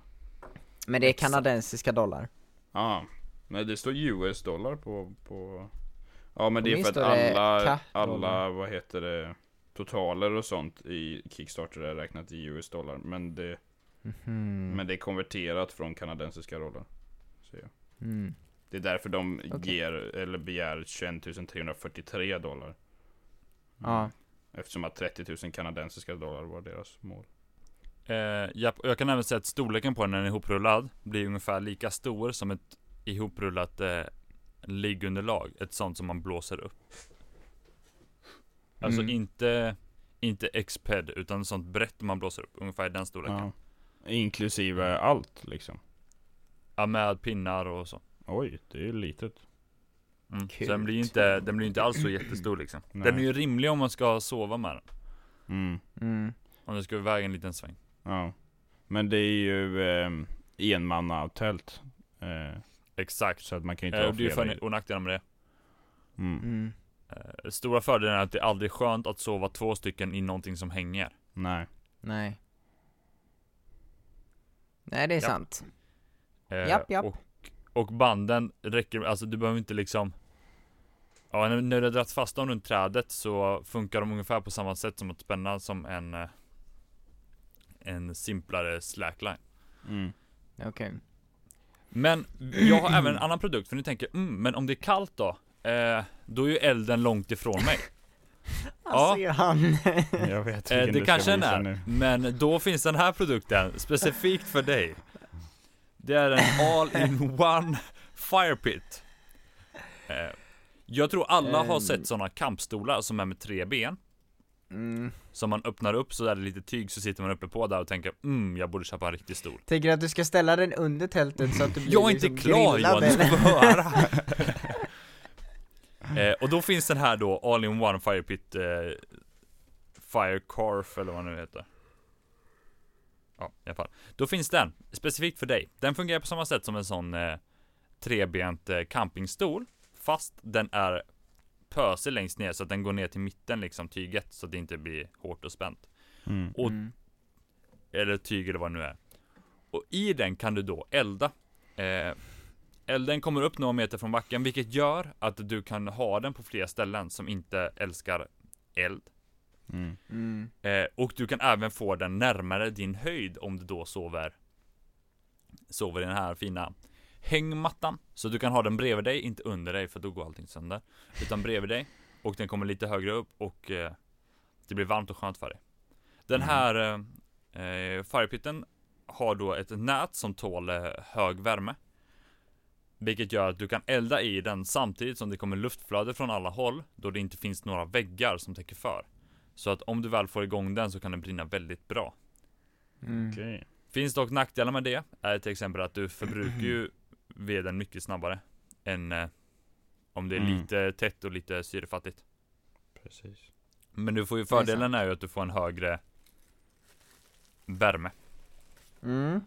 B: Men det är
D: Exakt.
B: kanadensiska dollar.
D: Ja, men det står US dollar på... på... Ja men
B: På
D: det är
B: min
D: för att
B: står det
D: alla, alla,
B: K-dollar.
D: vad heter det, totaler och sånt i Kickstarter är räknat i US dollar. Men det,
A: Mm.
B: Mhm.
D: men det är konverterat från kanadensiska dollar. Så, ja.
B: Mm.
D: Det är därför de
B: Okej.
D: ger, eller begär 21 343 dollar. Mm.
B: Ja.
D: Eftersom att 30 000 kanadensiska dollar var deras mål.
A: Eh, japp, och jag kan även säga att storleken på den när den är ihoprullad blir ungefär lika stor som ett ihoprullat eh, liggunderlag. Ett sånt som man blåser upp. Alltså
B: Mm.
A: inte, inte X-ped utan sånt brett man blåser upp. Ungefär i den storleken. Ja,
D: Ja. Inklusive allt liksom.
A: med pinnar och så.
D: Oj, det är ju litet.
A: Mm. Så
B: Kul.
A: den blir inte, den blir inte alls så jättestor liksom. Den är
D: Nej.
A: ju rimlig om man ska sova med den.
D: Mm.
B: Mm.
A: Om du ska iväg en liten sväng.
D: Ja. Men det är ju eh, enmannatält. Eh,
A: Exakt.
D: så att man kan ju inte
A: Eh,
D: ha
A: och det är ju
D: flera.
A: för
D: i-
A: och nackdelar med det.
D: Mm.
B: Mm.
A: Eh, stora fördelen är att det aldrig är skönt att sova två stycken i någonting som hänger.
D: Nej.
B: Nej. Nej, det är
A: Japp.
B: sant.
A: Eh,
B: Japp, japp.
A: Och, och banden räcker, alltså du behöver inte liksom Ja, när, när du har dragit fast dem runt trädet så funkar de ungefär på samma sätt som att spänna som en eh, En simplare slackline
D: Mm.
B: Okej.
A: Men jag har även en annan produkt för ni tänker mm, men om det är kallt då? Eh, då är ju elden långt ifrån mig Ja.
B: Alltså, han.
D: Jag vet
A: eh,
D: vilken
A: Det
D: du ska
A: kanske den
D: visa
A: är,
D: nu.
A: men då finns den här produkten specifikt för dig Det är en all-in-one fire pit eh, Jag tror alla har
B: Ehm.
A: sett sådana kampstolar som är med tre ben
B: (laughs) Mm.
A: Som man öppnar upp så där är det lite tyg så sitter man uppe på där och tänker mm, jag borde köpa en riktig stol
B: Tänker att du ska ställa den under tältet så att du blir
A: Jag är
B: liksom
A: inte klar Johan,
B: grillad (laughs)
A: du ska få
B: eller?
A: höra! eh, och då finns den här då, all-in-one fire pit eh, Fire Carf eller vad den nu heter Ja, i alla fall. Då finns den, specifikt för dig. Den fungerar på samma sätt som en sån eh, trebent eh, campingstol, fast den är pösig längst ner så att den går ner till mitten liksom, tyget, så att det inte blir hårt och spänt.
D: Mm.
A: och-
B: Mm.
A: eller tyg eller vad det nu är. Och i den kan du då elda. Eh, elden kommer upp några meter från backen, vilket gör att du kan ha den på flera ställen som inte älskar eld.
D: Mm.
B: Mm.
A: Eh, och du kan även få den närmare din höjd om du då sover Sover i den här fina hängmattan Så du kan ha den bredvid dig, inte under dig för då går allting sönder Utan bredvid dig Och den kommer lite högre upp och eh, Det blir varmt och skönt för dig Den här eh, eh, firepitten Har då ett nät som tål eh, hög värme vilket gör att du kan elda i den samtidigt som det kommer luftflöde från alla håll då det inte finns några väggar som täcker för. Så att om du väl får igång den så kan den brinna väldigt bra.
B: Mm.
D: Okej.
A: Finns dock nackdelar med det, är till exempel att du förbrukar ju veden mycket snabbare än eh, om det är
D: Mm.
A: lite tätt och lite syrefattigt.
D: Precis.
A: Men du får ju
B: är sant.
A: fördelen är ju att du får en högre värme.
B: Mm.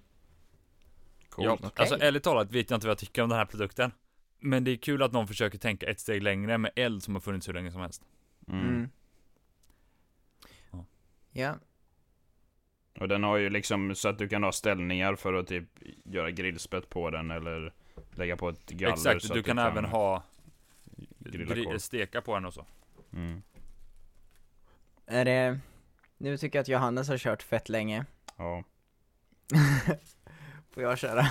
D: Coolt.
A: Ja, Alltså ärligt talat vet jag inte vad jag tycker om den här produkten. Men det är kul att någon försöker tänka ett steg längre med eld som har funnits hur länge som helst.
D: Mm.
B: Mm.
A: Ja.
B: Ja.
D: Och den har ju liksom så att du kan ha ställningar för att typ göra grillspett på den eller lägga på ett galler
A: Exakt,
D: så
A: du
D: att
A: kan även ha
D: grilla
A: gri-
D: korv.
A: steka på den och så.
D: Mm.
B: Är det... Nu tycker jag att Johannes har kört fett länge.
D: Ja.
B: Får jag köra?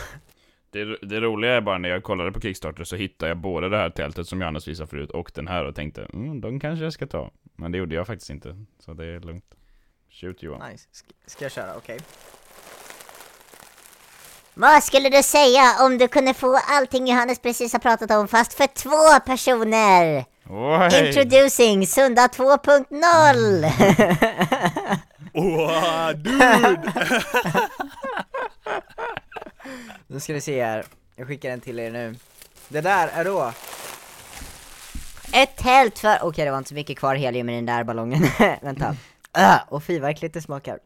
D: Det, det roliga är bara när jag kollade på Kickstarter så hittade jag både det här tältet som Johannes visade förut och den här och tänkte mm, de kanske jag ska ta. Men det gjorde jag faktiskt inte. Så det är lugnt. Shoot Johan.
B: Nice. Ska, ska jag köra? Okej.
C: Vad skulle du säga om du kunde få allting Johannes precis har pratat om fast för två personer?
E: Oj!
C: Introducing Sunda 2.0!
A: Wow, dude!
B: Nu ska ni se här, jag skickar en till er nu. Det där är då
C: (laughs) Ett tält för... Okej, det var inte så mycket kvar helium i den
B: (laughs)
C: där ballongen. Vänta. Öh,
B: och fy vad äckligt det smakar.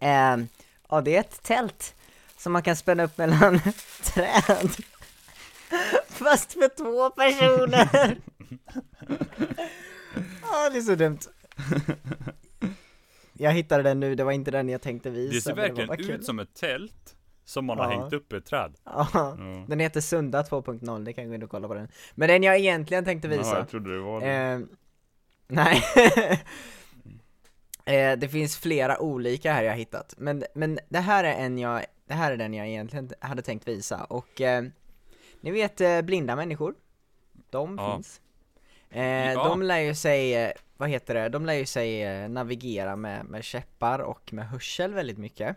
B: Ehm, ja det är ett tält som man kan spänna upp mellan (laughs) träd. Fast för två personer! Ja det är så dumt. Jag hittade den nu, det var inte den jag tänkte visa.
A: Det ser
B: men
A: verkligen
B: var bara kul.
A: ut som ett tält som man har
B: Ja.
A: hängt upp i ett träd.
B: Ja,
E: Ja.
B: den heter Sunda 2.0, det kan gå in och kolla på den. Men den jag egentligen tänkte
E: Ja,
B: visa.
E: jag trodde det var det.
B: Eh, nej. (laughs) eh, det finns flera olika här jag har hittat, men, men det här är en jag, det här är den jag egentligen hade tänkt visa och eh, ni vet eh, blinda människor, de
A: Ja.
B: finns. Eh,
A: Ja.
B: De lär ju sig, eh, vad heter det, de lär ju sig eh, navigera med, med käppar och med hörsel väldigt mycket.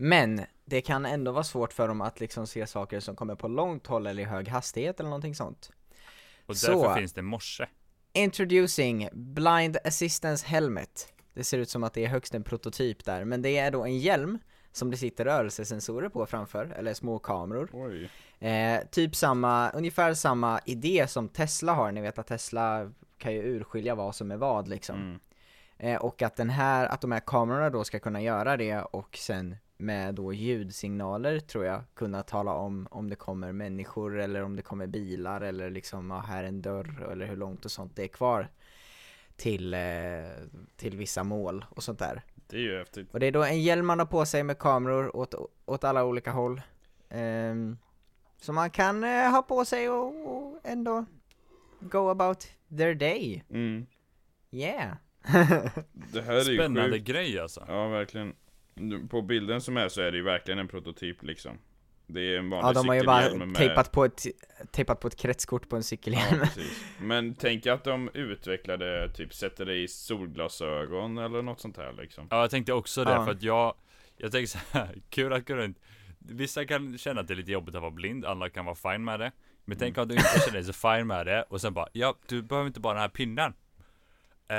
B: Men det kan ändå vara svårt för dem att liksom se saker som kommer på långt håll eller i hög hastighet eller någonting sånt.
A: Och
B: Så.
A: därför finns det morse.
B: Introducing Blind Assistance Helmet. Det ser ut som att det är högst en prototyp där, men det är då en hjälm som det sitter rörelsesensorer på framför, eller små kameror.
E: Oj.
B: Eh, typ samma, ungefär samma idé som Tesla har, ni vet att Tesla kan ju urskilja vad som är vad liksom.
E: Mm.
B: Eh, och att den här, att de här kamerorna då ska kunna göra det och sen med då ljudsignaler tror jag kunna tala om om det kommer människor eller om det kommer bilar eller liksom, ja, här är en dörr eller hur långt och sånt det är kvar till, eh, till vissa mål och sånt där.
E: Det är ju häftigt.
B: Och det är då en hjälm man har på sig med kameror åt, åt alla olika håll. Ehm, som man kan eh, ha på sig och, och ändå go about their day.
E: Mm.
B: Yeah!
E: Det här är ju
A: Spännande
E: sjukt.
A: grej alltså.
E: Ja, verkligen. Nu, På bilden som är så är det ju verkligen en prototyp liksom. Det är en vanlig
B: Ja de har ju bara
E: cykelhjälm med-
B: tejpat på ett, tejpat på ett kretskort på en cykelhjälm.
E: Ja, precis. Men tänk att de utvecklade, typ sätter dig i solglasögon eller något sånt här liksom.
A: Ja jag tänkte också det,
B: Ja.
A: för att jag Jag tänker så här, (laughs) kul att gå runt Vissa kan känna att det är lite jobbigt att vara blind, andra kan vara fine med det Men
B: Mm.
A: tänk om du inte känner dig så fine med det och sen bara Ja, du behöver inte bara den här pinnen eh,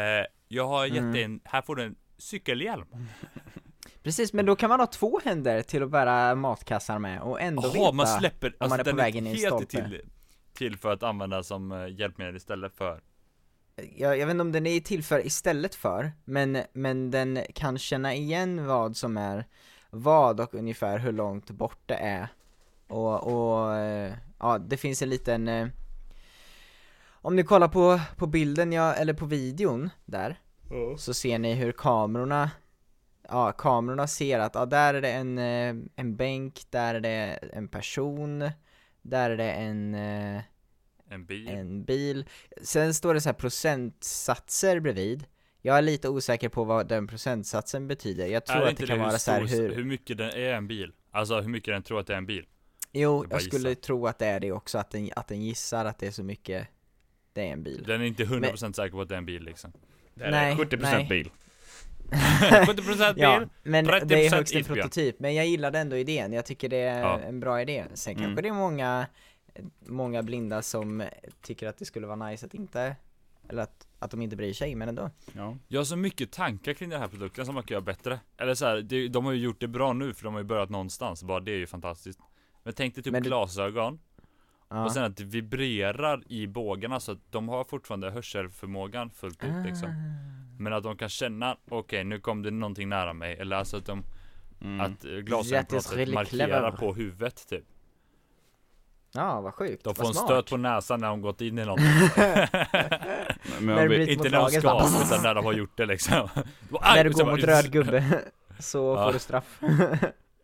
A: Jag har gett
B: Mm.
A: dig en, här får du en cykelhjälm
B: (laughs) Precis, men då kan man ha två händer till att bära matkassar med och ändå
A: Jaha,
B: veta
A: man släpper,
B: om man
A: alltså
B: är på
A: den är
B: väg in i en stolpe.
A: helt till, till för att använda som eh, hjälpmedel istället för
B: jag, jag vet inte om den är till för istället för, men, men den kan känna igen vad som är vad och ungefär hur långt bort det är. Och, och eh, ja, det finns en liten eh, Om ni kollar på, på bilden, ja, eller på videon där, så ser ni hur kamerorna Ja, kamerorna ser att ja, där är det en, eh, en bänk, där är det en person, där är det en eh,
A: en bil
B: en bil. Sen står det så här procentsatser bredvid. Jag är lite osäker på vad den procentsatsen betyder. Jag tror
A: Är
B: att det kan vara så här
A: stor-
B: hur...
A: hur mycket den är en bil? Alltså hur mycket den tror att det är en bil?
B: Jo,
A: jag bara
B: jag skulle
A: gissar.
B: tro att det är det också, att den, att den gissar att det är så mycket det är en bil.
A: Den är inte 100% säker på att det är en bil
B: (laughs)
A: liksom (laughs)
E: Det här
B: Nej,
E: är 70%
B: nej.
E: bil.
A: 70% bil!
B: Ja, men det är
A: 30%
B: högst en
A: isbjörn.
B: prototyp, men jag gillade ändå idén. Jag tycker det är
A: Ja.
B: en bra idé. Sen
E: Mm.
B: kanske det är många, många blinda som tycker att det skulle vara nice att inte, eller att, att de inte bryr sig, men ändå.
E: Ja.
A: Jag har så mycket tankar kring den här produkten som man kan göra bättre. Eller så här, det, de har ju gjort det bra nu för de har ju börjat någonstans. Bara det är ju fantastiskt. Men tänk dig typ
B: Men det-
A: glasögon
B: Ja.
A: och sen att det vibrerar i bågarna så att de har fortfarande hörselförmågan fullt ut liksom.
B: Ah.
A: Men att de kan känna, okej nu kom det någonting nära mig. Eller alltså att de, att eh, glasögonen på något
B: Jättes-
A: sätt
B: really
A: markerar
B: clever.
A: på huvudet typ.
B: Ja, vad sjukt.
A: De får
B: vad
A: en
B: smart.
A: stöt på näsan när de gått
B: (laughs)
A: in i någonting.
E: Men
B: När
E: om
B: det
E: vi-
B: blir- Ut
A: Inte
B: mot
A: när de
B: laget,
A: ska,
B: bara-
A: utan när de har gjort det liksom.
B: (laughs) När du går mot röd gubbe (laughs) så
A: Ja.
B: får du straff.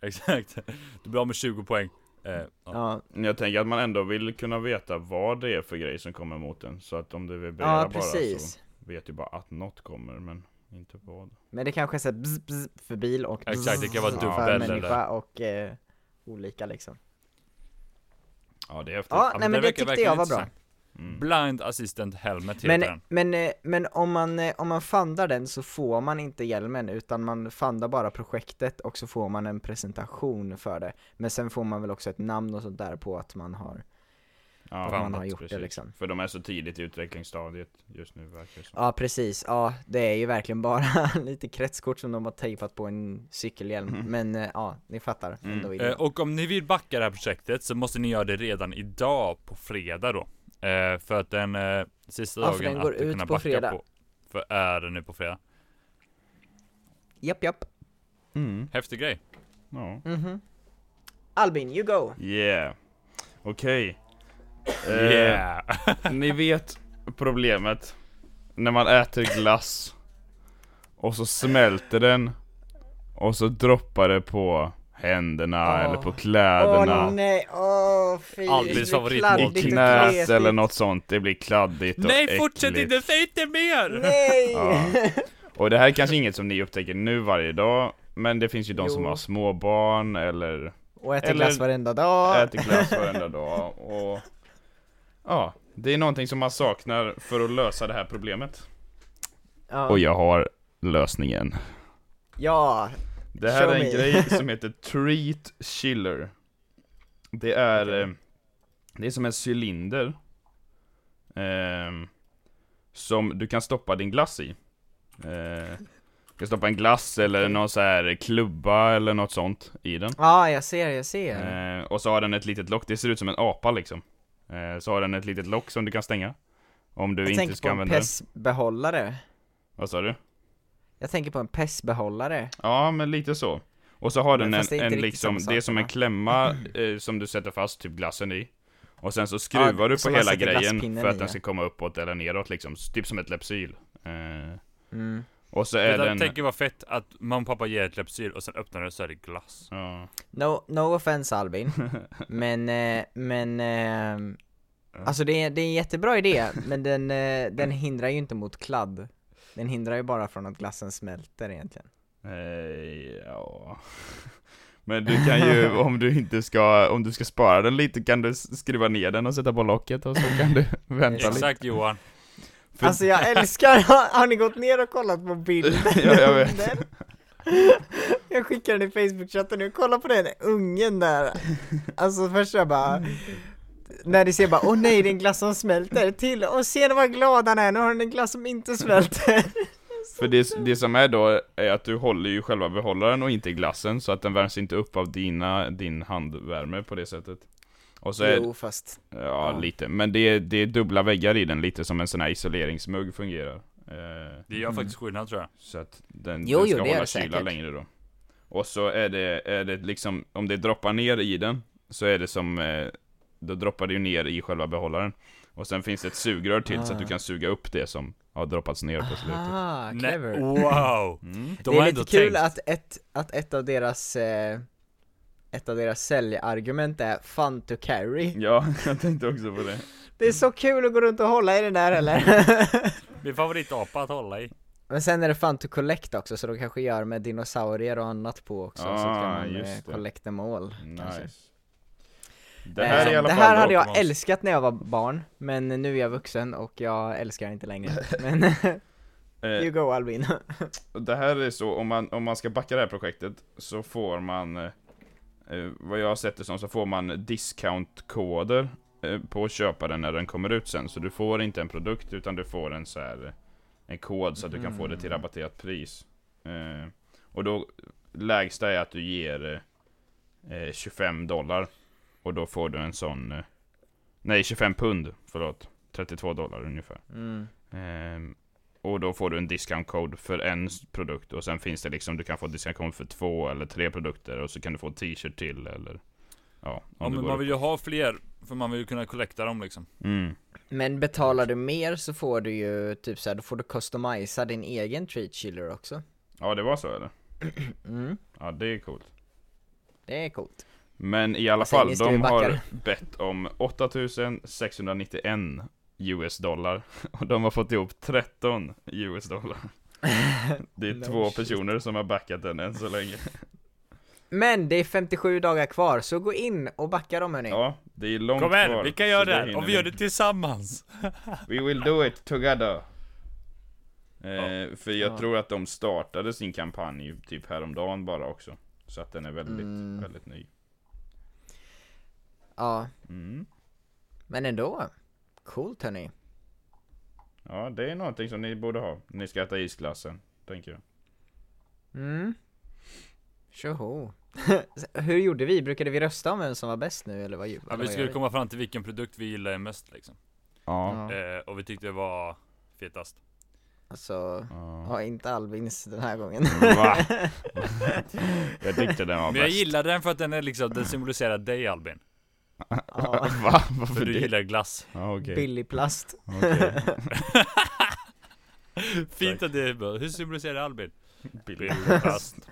A: Exakt. Du blir av med 20 poäng. Eh, ja.
B: Ja,
E: Jag tänker att man ändå vill kunna veta vad det är för grej som kommer mot en. Så att om det vibrerar
B: ja
E: bara så
B: precis.
E: vet du bara att något kommer men inte vad.
B: Men det kanske är så här bzz, bzz för bil och
A: Exakt, det
B: bzz
A: kan vara
B: för
A: dubbel
B: människa
A: eller-
B: och eh, olika liksom.
E: Ja det är häftigt.
B: Ja,
A: men
B: nej
A: det
B: men det
A: verkar
B: tyckte
A: verkligen
B: jag var bra.
A: intressant. Mm. Blind Assistant Helmet heter
B: Men,
A: den.
B: men, eh, men om man, eh, om man fandar den så får man inte hjälmen utan man fandar bara projektet och så får man en presentation för det. Men sen får man väl också ett namn och sånt där på att man har
D: Ja,
B: att
A: fan,
B: man har
A: något,
B: gjort det
D: precis.
B: liksom.
D: För de är så tidigt i utvecklingsstadiet just nu verkar det som.
B: Ja precis, ja det är ju verkligen bara (laughs) lite kretskort som de har tejpat på en cykelhjälm Men eh, ja, ni fattar
D: Mm.
B: ändå
A: Eh,
B: idén.
A: och om ni vill backa det här projektet så måste ni göra det redan idag på fredag då. Eh, för att den eh, sista
B: Ja, för
A: dagen
B: den går
A: att du
B: ut
A: kunna
B: på
A: backa
B: fredag.
A: på. För är det nu på fredag.
B: Japp japp,
D: Mm.
A: Häftig grej.
D: Ja.
B: mhm Albin, you go!
D: Yeah. Okej. Eh,
A: (laughs)
D: Ni vet problemet när man äter glass och så smälter den och så droppar det på händerna
B: Åh.
D: eller på
B: Åh
D: kläderna.
B: nej, åh fy!
A: Albins
B: det blir
A: favoritmat.
D: I
B: kladdigt och
D: knät
B: kletigt.
D: eller något sånt, det blir kladdigt och
A: Nej fortsätt
D: äckligt.
A: inte, säg inte mer!
B: Nej!
D: Ja. Och det här är kanske inget som ni upptäcker nu varje dag, men det finns ju de som
B: Jo.
D: har små barn eller
B: Och äter
D: Eller-
B: glass varenda dag
D: äter glass varenda dag och... Ja, det är någonting som man saknar för att lösa det här problemet.
B: ja.
D: Och jag har lösningen.
B: ja,
D: Det här
B: Show
D: är en
B: me.
D: grej som heter Treat Chiller Det är, eh, det är som en cylinder ehm, Som du kan stoppa din glass i eh, Du kan stoppa en glass eller någon så här klubba eller något sånt i den
B: ja jag ser, jag ser
D: eh, Och så har den ett litet lock, det ser ut som en apa liksom eh, Så har den ett litet lock som du kan stänga Om du
B: Jag
D: inte
B: tänker
D: ska
B: på en
D: använda den
B: pessbehållare
D: Vad sa du?
B: Jag tänker på en pessbehållare
D: Ja, men lite så. Och så har
B: Men
D: den
B: fast det
D: en,
B: är inte
D: en
B: riktigt
D: liksom,
B: samma
D: det är
B: sak,
D: som en
B: va? (clears throat)
D: klämma eh, som du sätter fast typ glassen i. Och sen så skruvar
B: Ja,
D: du på
B: som man
D: hela
B: sätter
D: grejen
B: glasspinnen
D: för
B: i,
D: att den
B: ja.
D: ska komma uppåt eller neråt liksom, Så typ som ett lepsyl. Eh,
B: mm.
D: och så är
A: Jag
D: den...
A: tänker vad fett att mamma och pappa ger ett läppsyl och sen öppnar det så är det glass.
D: Ja. (laughs)
B: No, no offense Albin, men, eh, men eh, Alltså det är, det är en jättebra idé, men den, eh, den hindrar ju inte mot kladd Den hindrar ju bara från att glassen smälter egentligen
D: Eh, ja. (laughs) Men du kan ju, om du inte ska, om du ska spara den lite kan du s- skruva ner den och sätta på locket och så kan du vänta lite.
A: Exakt Johan.
D: För-
B: Alltså jag älskar, (laughs) har, har ni gått ner och kollat på
D: (laughs)
B: bilden?
D: (laughs) Ja, jag vet.
B: Den- Jag skickar den i Facebookchatten nu, kolla på den ungen där Alltså först jag bara När ni ser bara, åh nej det är en glass som smälter till, och se vad glad han är, nu har han en glass som inte smälter
D: För det, det som är då är att du håller ju själva behållaren och inte glassen så att den värms inte upp av dina, din handvärme på det sättet. Och (laughs) så är,
B: Jo fast,
D: ja,
B: ja.
D: lite, men det är, det är dubbla väggar i den lite som en sån här isoleringsmugg fungerar. Eh,
A: Det
B: Mm.
A: gör faktiskt skillnad tror jag.
D: så att den,
B: Jo,
D: den
B: jo,
D: ska
B: det är
D: hålla
B: det
D: kyla
B: säkert.
D: längre då. Och så är det, är det liksom, om det droppar ner i den så är det som, eh, då droppar det ju ner i själva behållaren. Och sen finns det ett sugrör till så att du
B: Ah.
D: kan suga upp det som har droppats ner på slutet.
B: ah,
A: Nej,
B: clever
A: Wow! De
D: Mm.
B: det
A: har
B: är
A: ändå
B: lite kul
A: tänkt.
B: att ett, att ett av deras eh, ett av deras säljargument är 'fun to carry'
D: Ja, (laughs) jag tänkte också på det.
B: Det är så kul att gå runt och hålla i den där eller? (laughs)
A: Min favoritapa att hålla i.
B: Men sen är det 'fun to collect' också så de kanske gör med dinosaurier och annat på också så
D: Ah,
B: kan man eh,
D: just det.
B: collect them all kanske.
D: Nice. Det här,
B: Eh,
D: är i alla
B: det
D: fall
B: här hade jag
A: Pokémons.
B: älskat när jag var barn, men nu är jag vuxen och jag älskar det inte
D: (laughs)
B: längre Men, (laughs)
D: eh,
B: you go Albin
D: det här är så, om man, om man ska backa det här projektet så får man, eh, eh, vad jag har sett det som, så får man discountkoder eh, på köparen när den kommer ut sen. Så du får inte en produkt utan du får en så här, eh, en kod så att du kan få det till rabatterat pris. Eh, och då, lägsta är att du ger eh, eh, 25 dollar och då får du en sån, eh, nej 25 pund, förlåt, 32 dollar ungefär.
B: mm.
D: Ehm, och då får du en discount code för en s- produkt och sen finns det liksom, du kan få discount code för två eller tre produkter och så kan du få en t-shirt till eller
A: Ja,
D: Ja, om du
A: men man
D: går upp.
A: vill ju ha fler, för man vill ju kunna collecta dem liksom.
D: Mm.
B: Men betalar du mer så får du ju typ såhär, då får du customisa din egen treat chiller också
D: Ja, det var så eller?
B: mm.
D: Ja, det är coolt.
B: Det är coolt
D: Men i alla
B: Vad säger
D: fall,
B: ni, ska vi
D: de
B: backa
D: har
B: det?
D: bett om 8691 US dollar (laughs) och de har fått ihop 13 US dollar.
A: (laughs)
D: Det är
B: No
D: två
B: shit.
D: personer som har backat den än så länge.
B: Men det är 57 dagar kvar, så gå in och backa dem hörni.
D: Ja, det är långt
A: Kom
D: kvar,
A: här, vi kan
D: så
A: göra det här!
D: hinner
A: Och vi gör det tillsammans!
D: We will do it together! Eh, för jag
B: Ja.
D: tror att de startade sin kampanj typ häromdagen bara också. Så
A: Mm.
D: att den är väldigt,
B: Mm.
D: väldigt ny.
B: Ja.
D: Mm.
B: Men ändå. Coolt hörni.
D: Ja, det är någonting som ni borde ha. Ni ska äta isglassen, tänker jag.
B: Mm. Tjoho. (laughs) Hur gjorde vi? Brukade vi rösta om vem som var bäst nu eller vad ju-
A: Ja,
B: eller
A: vi
B: vad
A: skulle
B: gör
A: komma fram till vilken produkt vi gillar mest liksom.
D: Ja.
A: Eh, och vi tyckte det var fetast.
B: Alltså,
D: ja.
B: ja, inte Albins den här gången. (laughs)
A: (laughs)
D: Va? jag tyckte den var
A: Men jag
D: bäst.
A: gillar den för att den är liksom, den symboliserar dig Albin.
B: Ja,
D: (laughs) Va?
A: För
D: Varför
A: du
D: det?
A: gillar
D: (laughs)
A: glass.
D: Ja, okej.
B: billig plast.
A: (laughs)
D: Okej.
A: Fint att det är bra. Hur symboliserar Albin?
D: Billig.
A: Bilplast.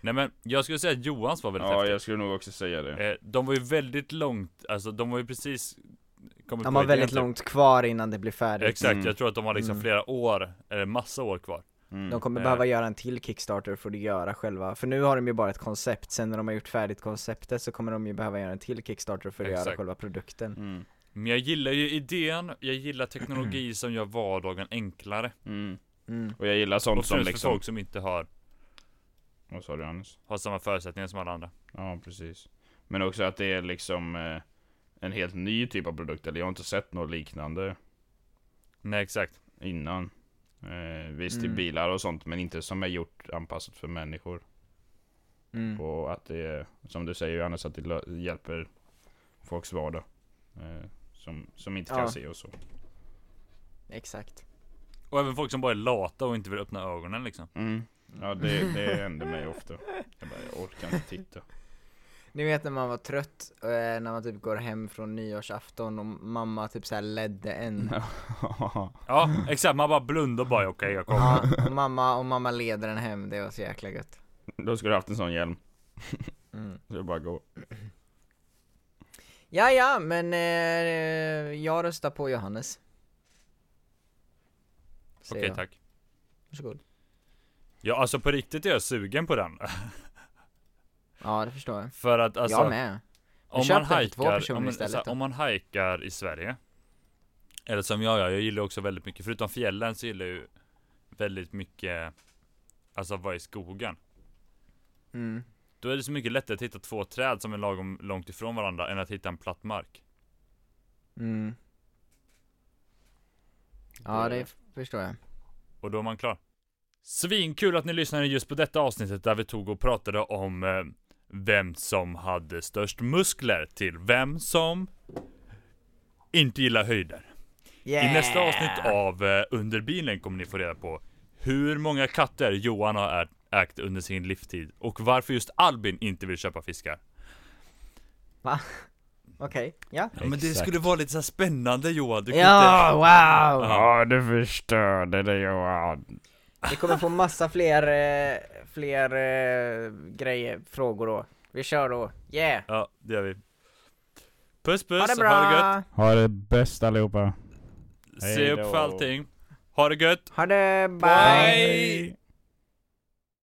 A: Nej men, jag skulle säga att Johans var väldigt
D: Ja,
A: häftig.
D: jag skulle nog också säga det.
A: Eh, de var ju väldigt långt, alltså de var ju precis kommit
B: De
A: på
B: har väldigt
A: idén, typ.
B: långt kvar innan det blir färdigt.
A: Exakt,
D: Mm.
A: jag tror att de har liksom
B: Mm.
A: flera år, eller massa år kvar.
D: Mm.
B: De kommer
A: Eh.
B: behöva göra en till Kickstarter för att göra själva, för nu har de ju bara ett koncept, sen när de har gjort färdigt konceptet så kommer de ju behöva göra en till Kickstarter för att göra
A: Exakt.
B: själva produkten.
D: Mm.
A: Men jag gillar ju idén, jag gillar (clears throat) teknologi som gör vardagen enklare.
D: Mm.
B: Mm.
D: Och jag gillar sånt
A: Och
D: som
A: främst för
D: liksom...
A: folk som inte har,
D: Vad sa du Anders?
A: har samma förutsättningar som alla andra.
D: Ja, precis. Men också att det är liksom eh, en helt ny typ av produkt. Eller jag har inte sett något liknande
A: Nej exakt.
D: innan. Eh, visst till
B: Mm.
D: bilar och sånt, men inte som är gjort anpassat för människor.
B: Mm.
D: Och att det är, som du säger Anders, att det lö- hjälper folks vardag. Eh, som, som inte kan
B: Ja.
D: se och så.
B: Exakt.
A: Och även folk som bara är lata och inte vill öppna ögonen liksom.
D: Mm. Ja, det, det händer mig ofta. Jag bara, jag orkar inte (laughs) titta.
B: Ni vet när man var trött, eh, när man typ går hem från nyårsafton och mamma typ såhär ledde
A: Mm.
B: en.
A: (clears throat) Ja, exakt. Man bara blundar och bara okej jag kommer.
B: Ja, och mamma, och mamma leder en hem, det var så jäkla gött.
D: Då skulle du haft en sån hjälm.
B: Mm.
D: Så jag bara går.
B: Ja, ja, men eh, jag röstar på Johannes. Säger
A: Okej
B: jag.
A: tack.
B: Varsågod.
A: Ja alltså på riktigt är jag sugen på den. (laughs)
B: Ja, det förstår jag.
A: För att alltså.
B: jag med.
A: Om
B: köp
A: man,
B: den för två
A: hajkar,
B: personer
A: om, man,
B: istället
A: såhär,
B: då.
A: om man hajkar i Sverige Eller som jag gör, jag gillar också väldigt mycket Förutom fjällen så gillar jag ju väldigt mycket Alltså att vara i skogen
B: Mm.
A: Då är det så mycket lättare att hitta två träd som är lagom långt ifrån varandra än att hitta en platt mark
B: Mm. Ja,
D: Det-
B: det f- förstår jag.
A: Och då är man klar Svinkul att ni lyssnade just på detta avsnittet där vi tog och pratade om eh, Vem som hade störst muskler till vem som inte gillar höjder I nästa avsnitt av eh, Under bilen kommer ni få reda på hur många katter Johan har ä- ägt under sin livstid och varför just Albin inte vill köpa fiskar.
B: (laughs) Okej, ja.
A: Ja, men det skulle vara lite så spännande Johan, du kan
B: Ja,
A: inte...
B: wow!
D: Ja, du förstörde det Johan.
B: Vi kommer få massa fler, eh, fler eh, grejer, frågor då. Vi kör då. Yeah!
A: Ja, det gör vi. Puss puss,
B: Ha det
A: ha det gött!
B: bra!
D: Ha det bäst allihopa.
A: Se upp
D: Hej
A: för
D: då.
A: allting. Ha det gött!
B: Ha det, bye!
A: Bye.